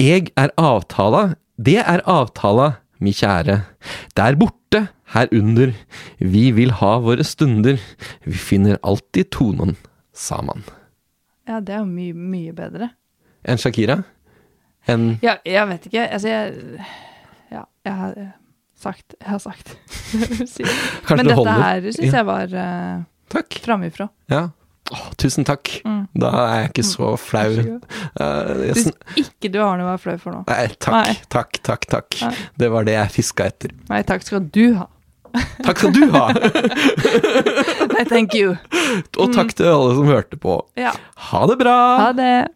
Jeg er avtala, det er avtala, mi kjære. Der borte, her under. Vi vil ha våre stunder. Vi finner alltid tonen, sa man. Ja, det er jo mye, mye bedre. En Shakira? En Ja, jeg vet ikke. Altså, jeg Ja, jeg har eh, sagt Jeg har sagt det jeg vil si. Kanskje Men det dette holder. her syns Ja. jeg var uh, framifrå. Ja. Åh, tusen takk. Mm. Da er jeg ikke så flau. Vær så Eh, jeg Syns sn- ikke du har noe å være flau for nå. Nei, takk, takk, takk. takk. Nei. Det var det jeg fiska etter. Nei, takk skal du ha. Takk skal du ha! Nei, thank you. Mm. Og takk til alle som hørte på. Ja. Ha det bra! Ha det.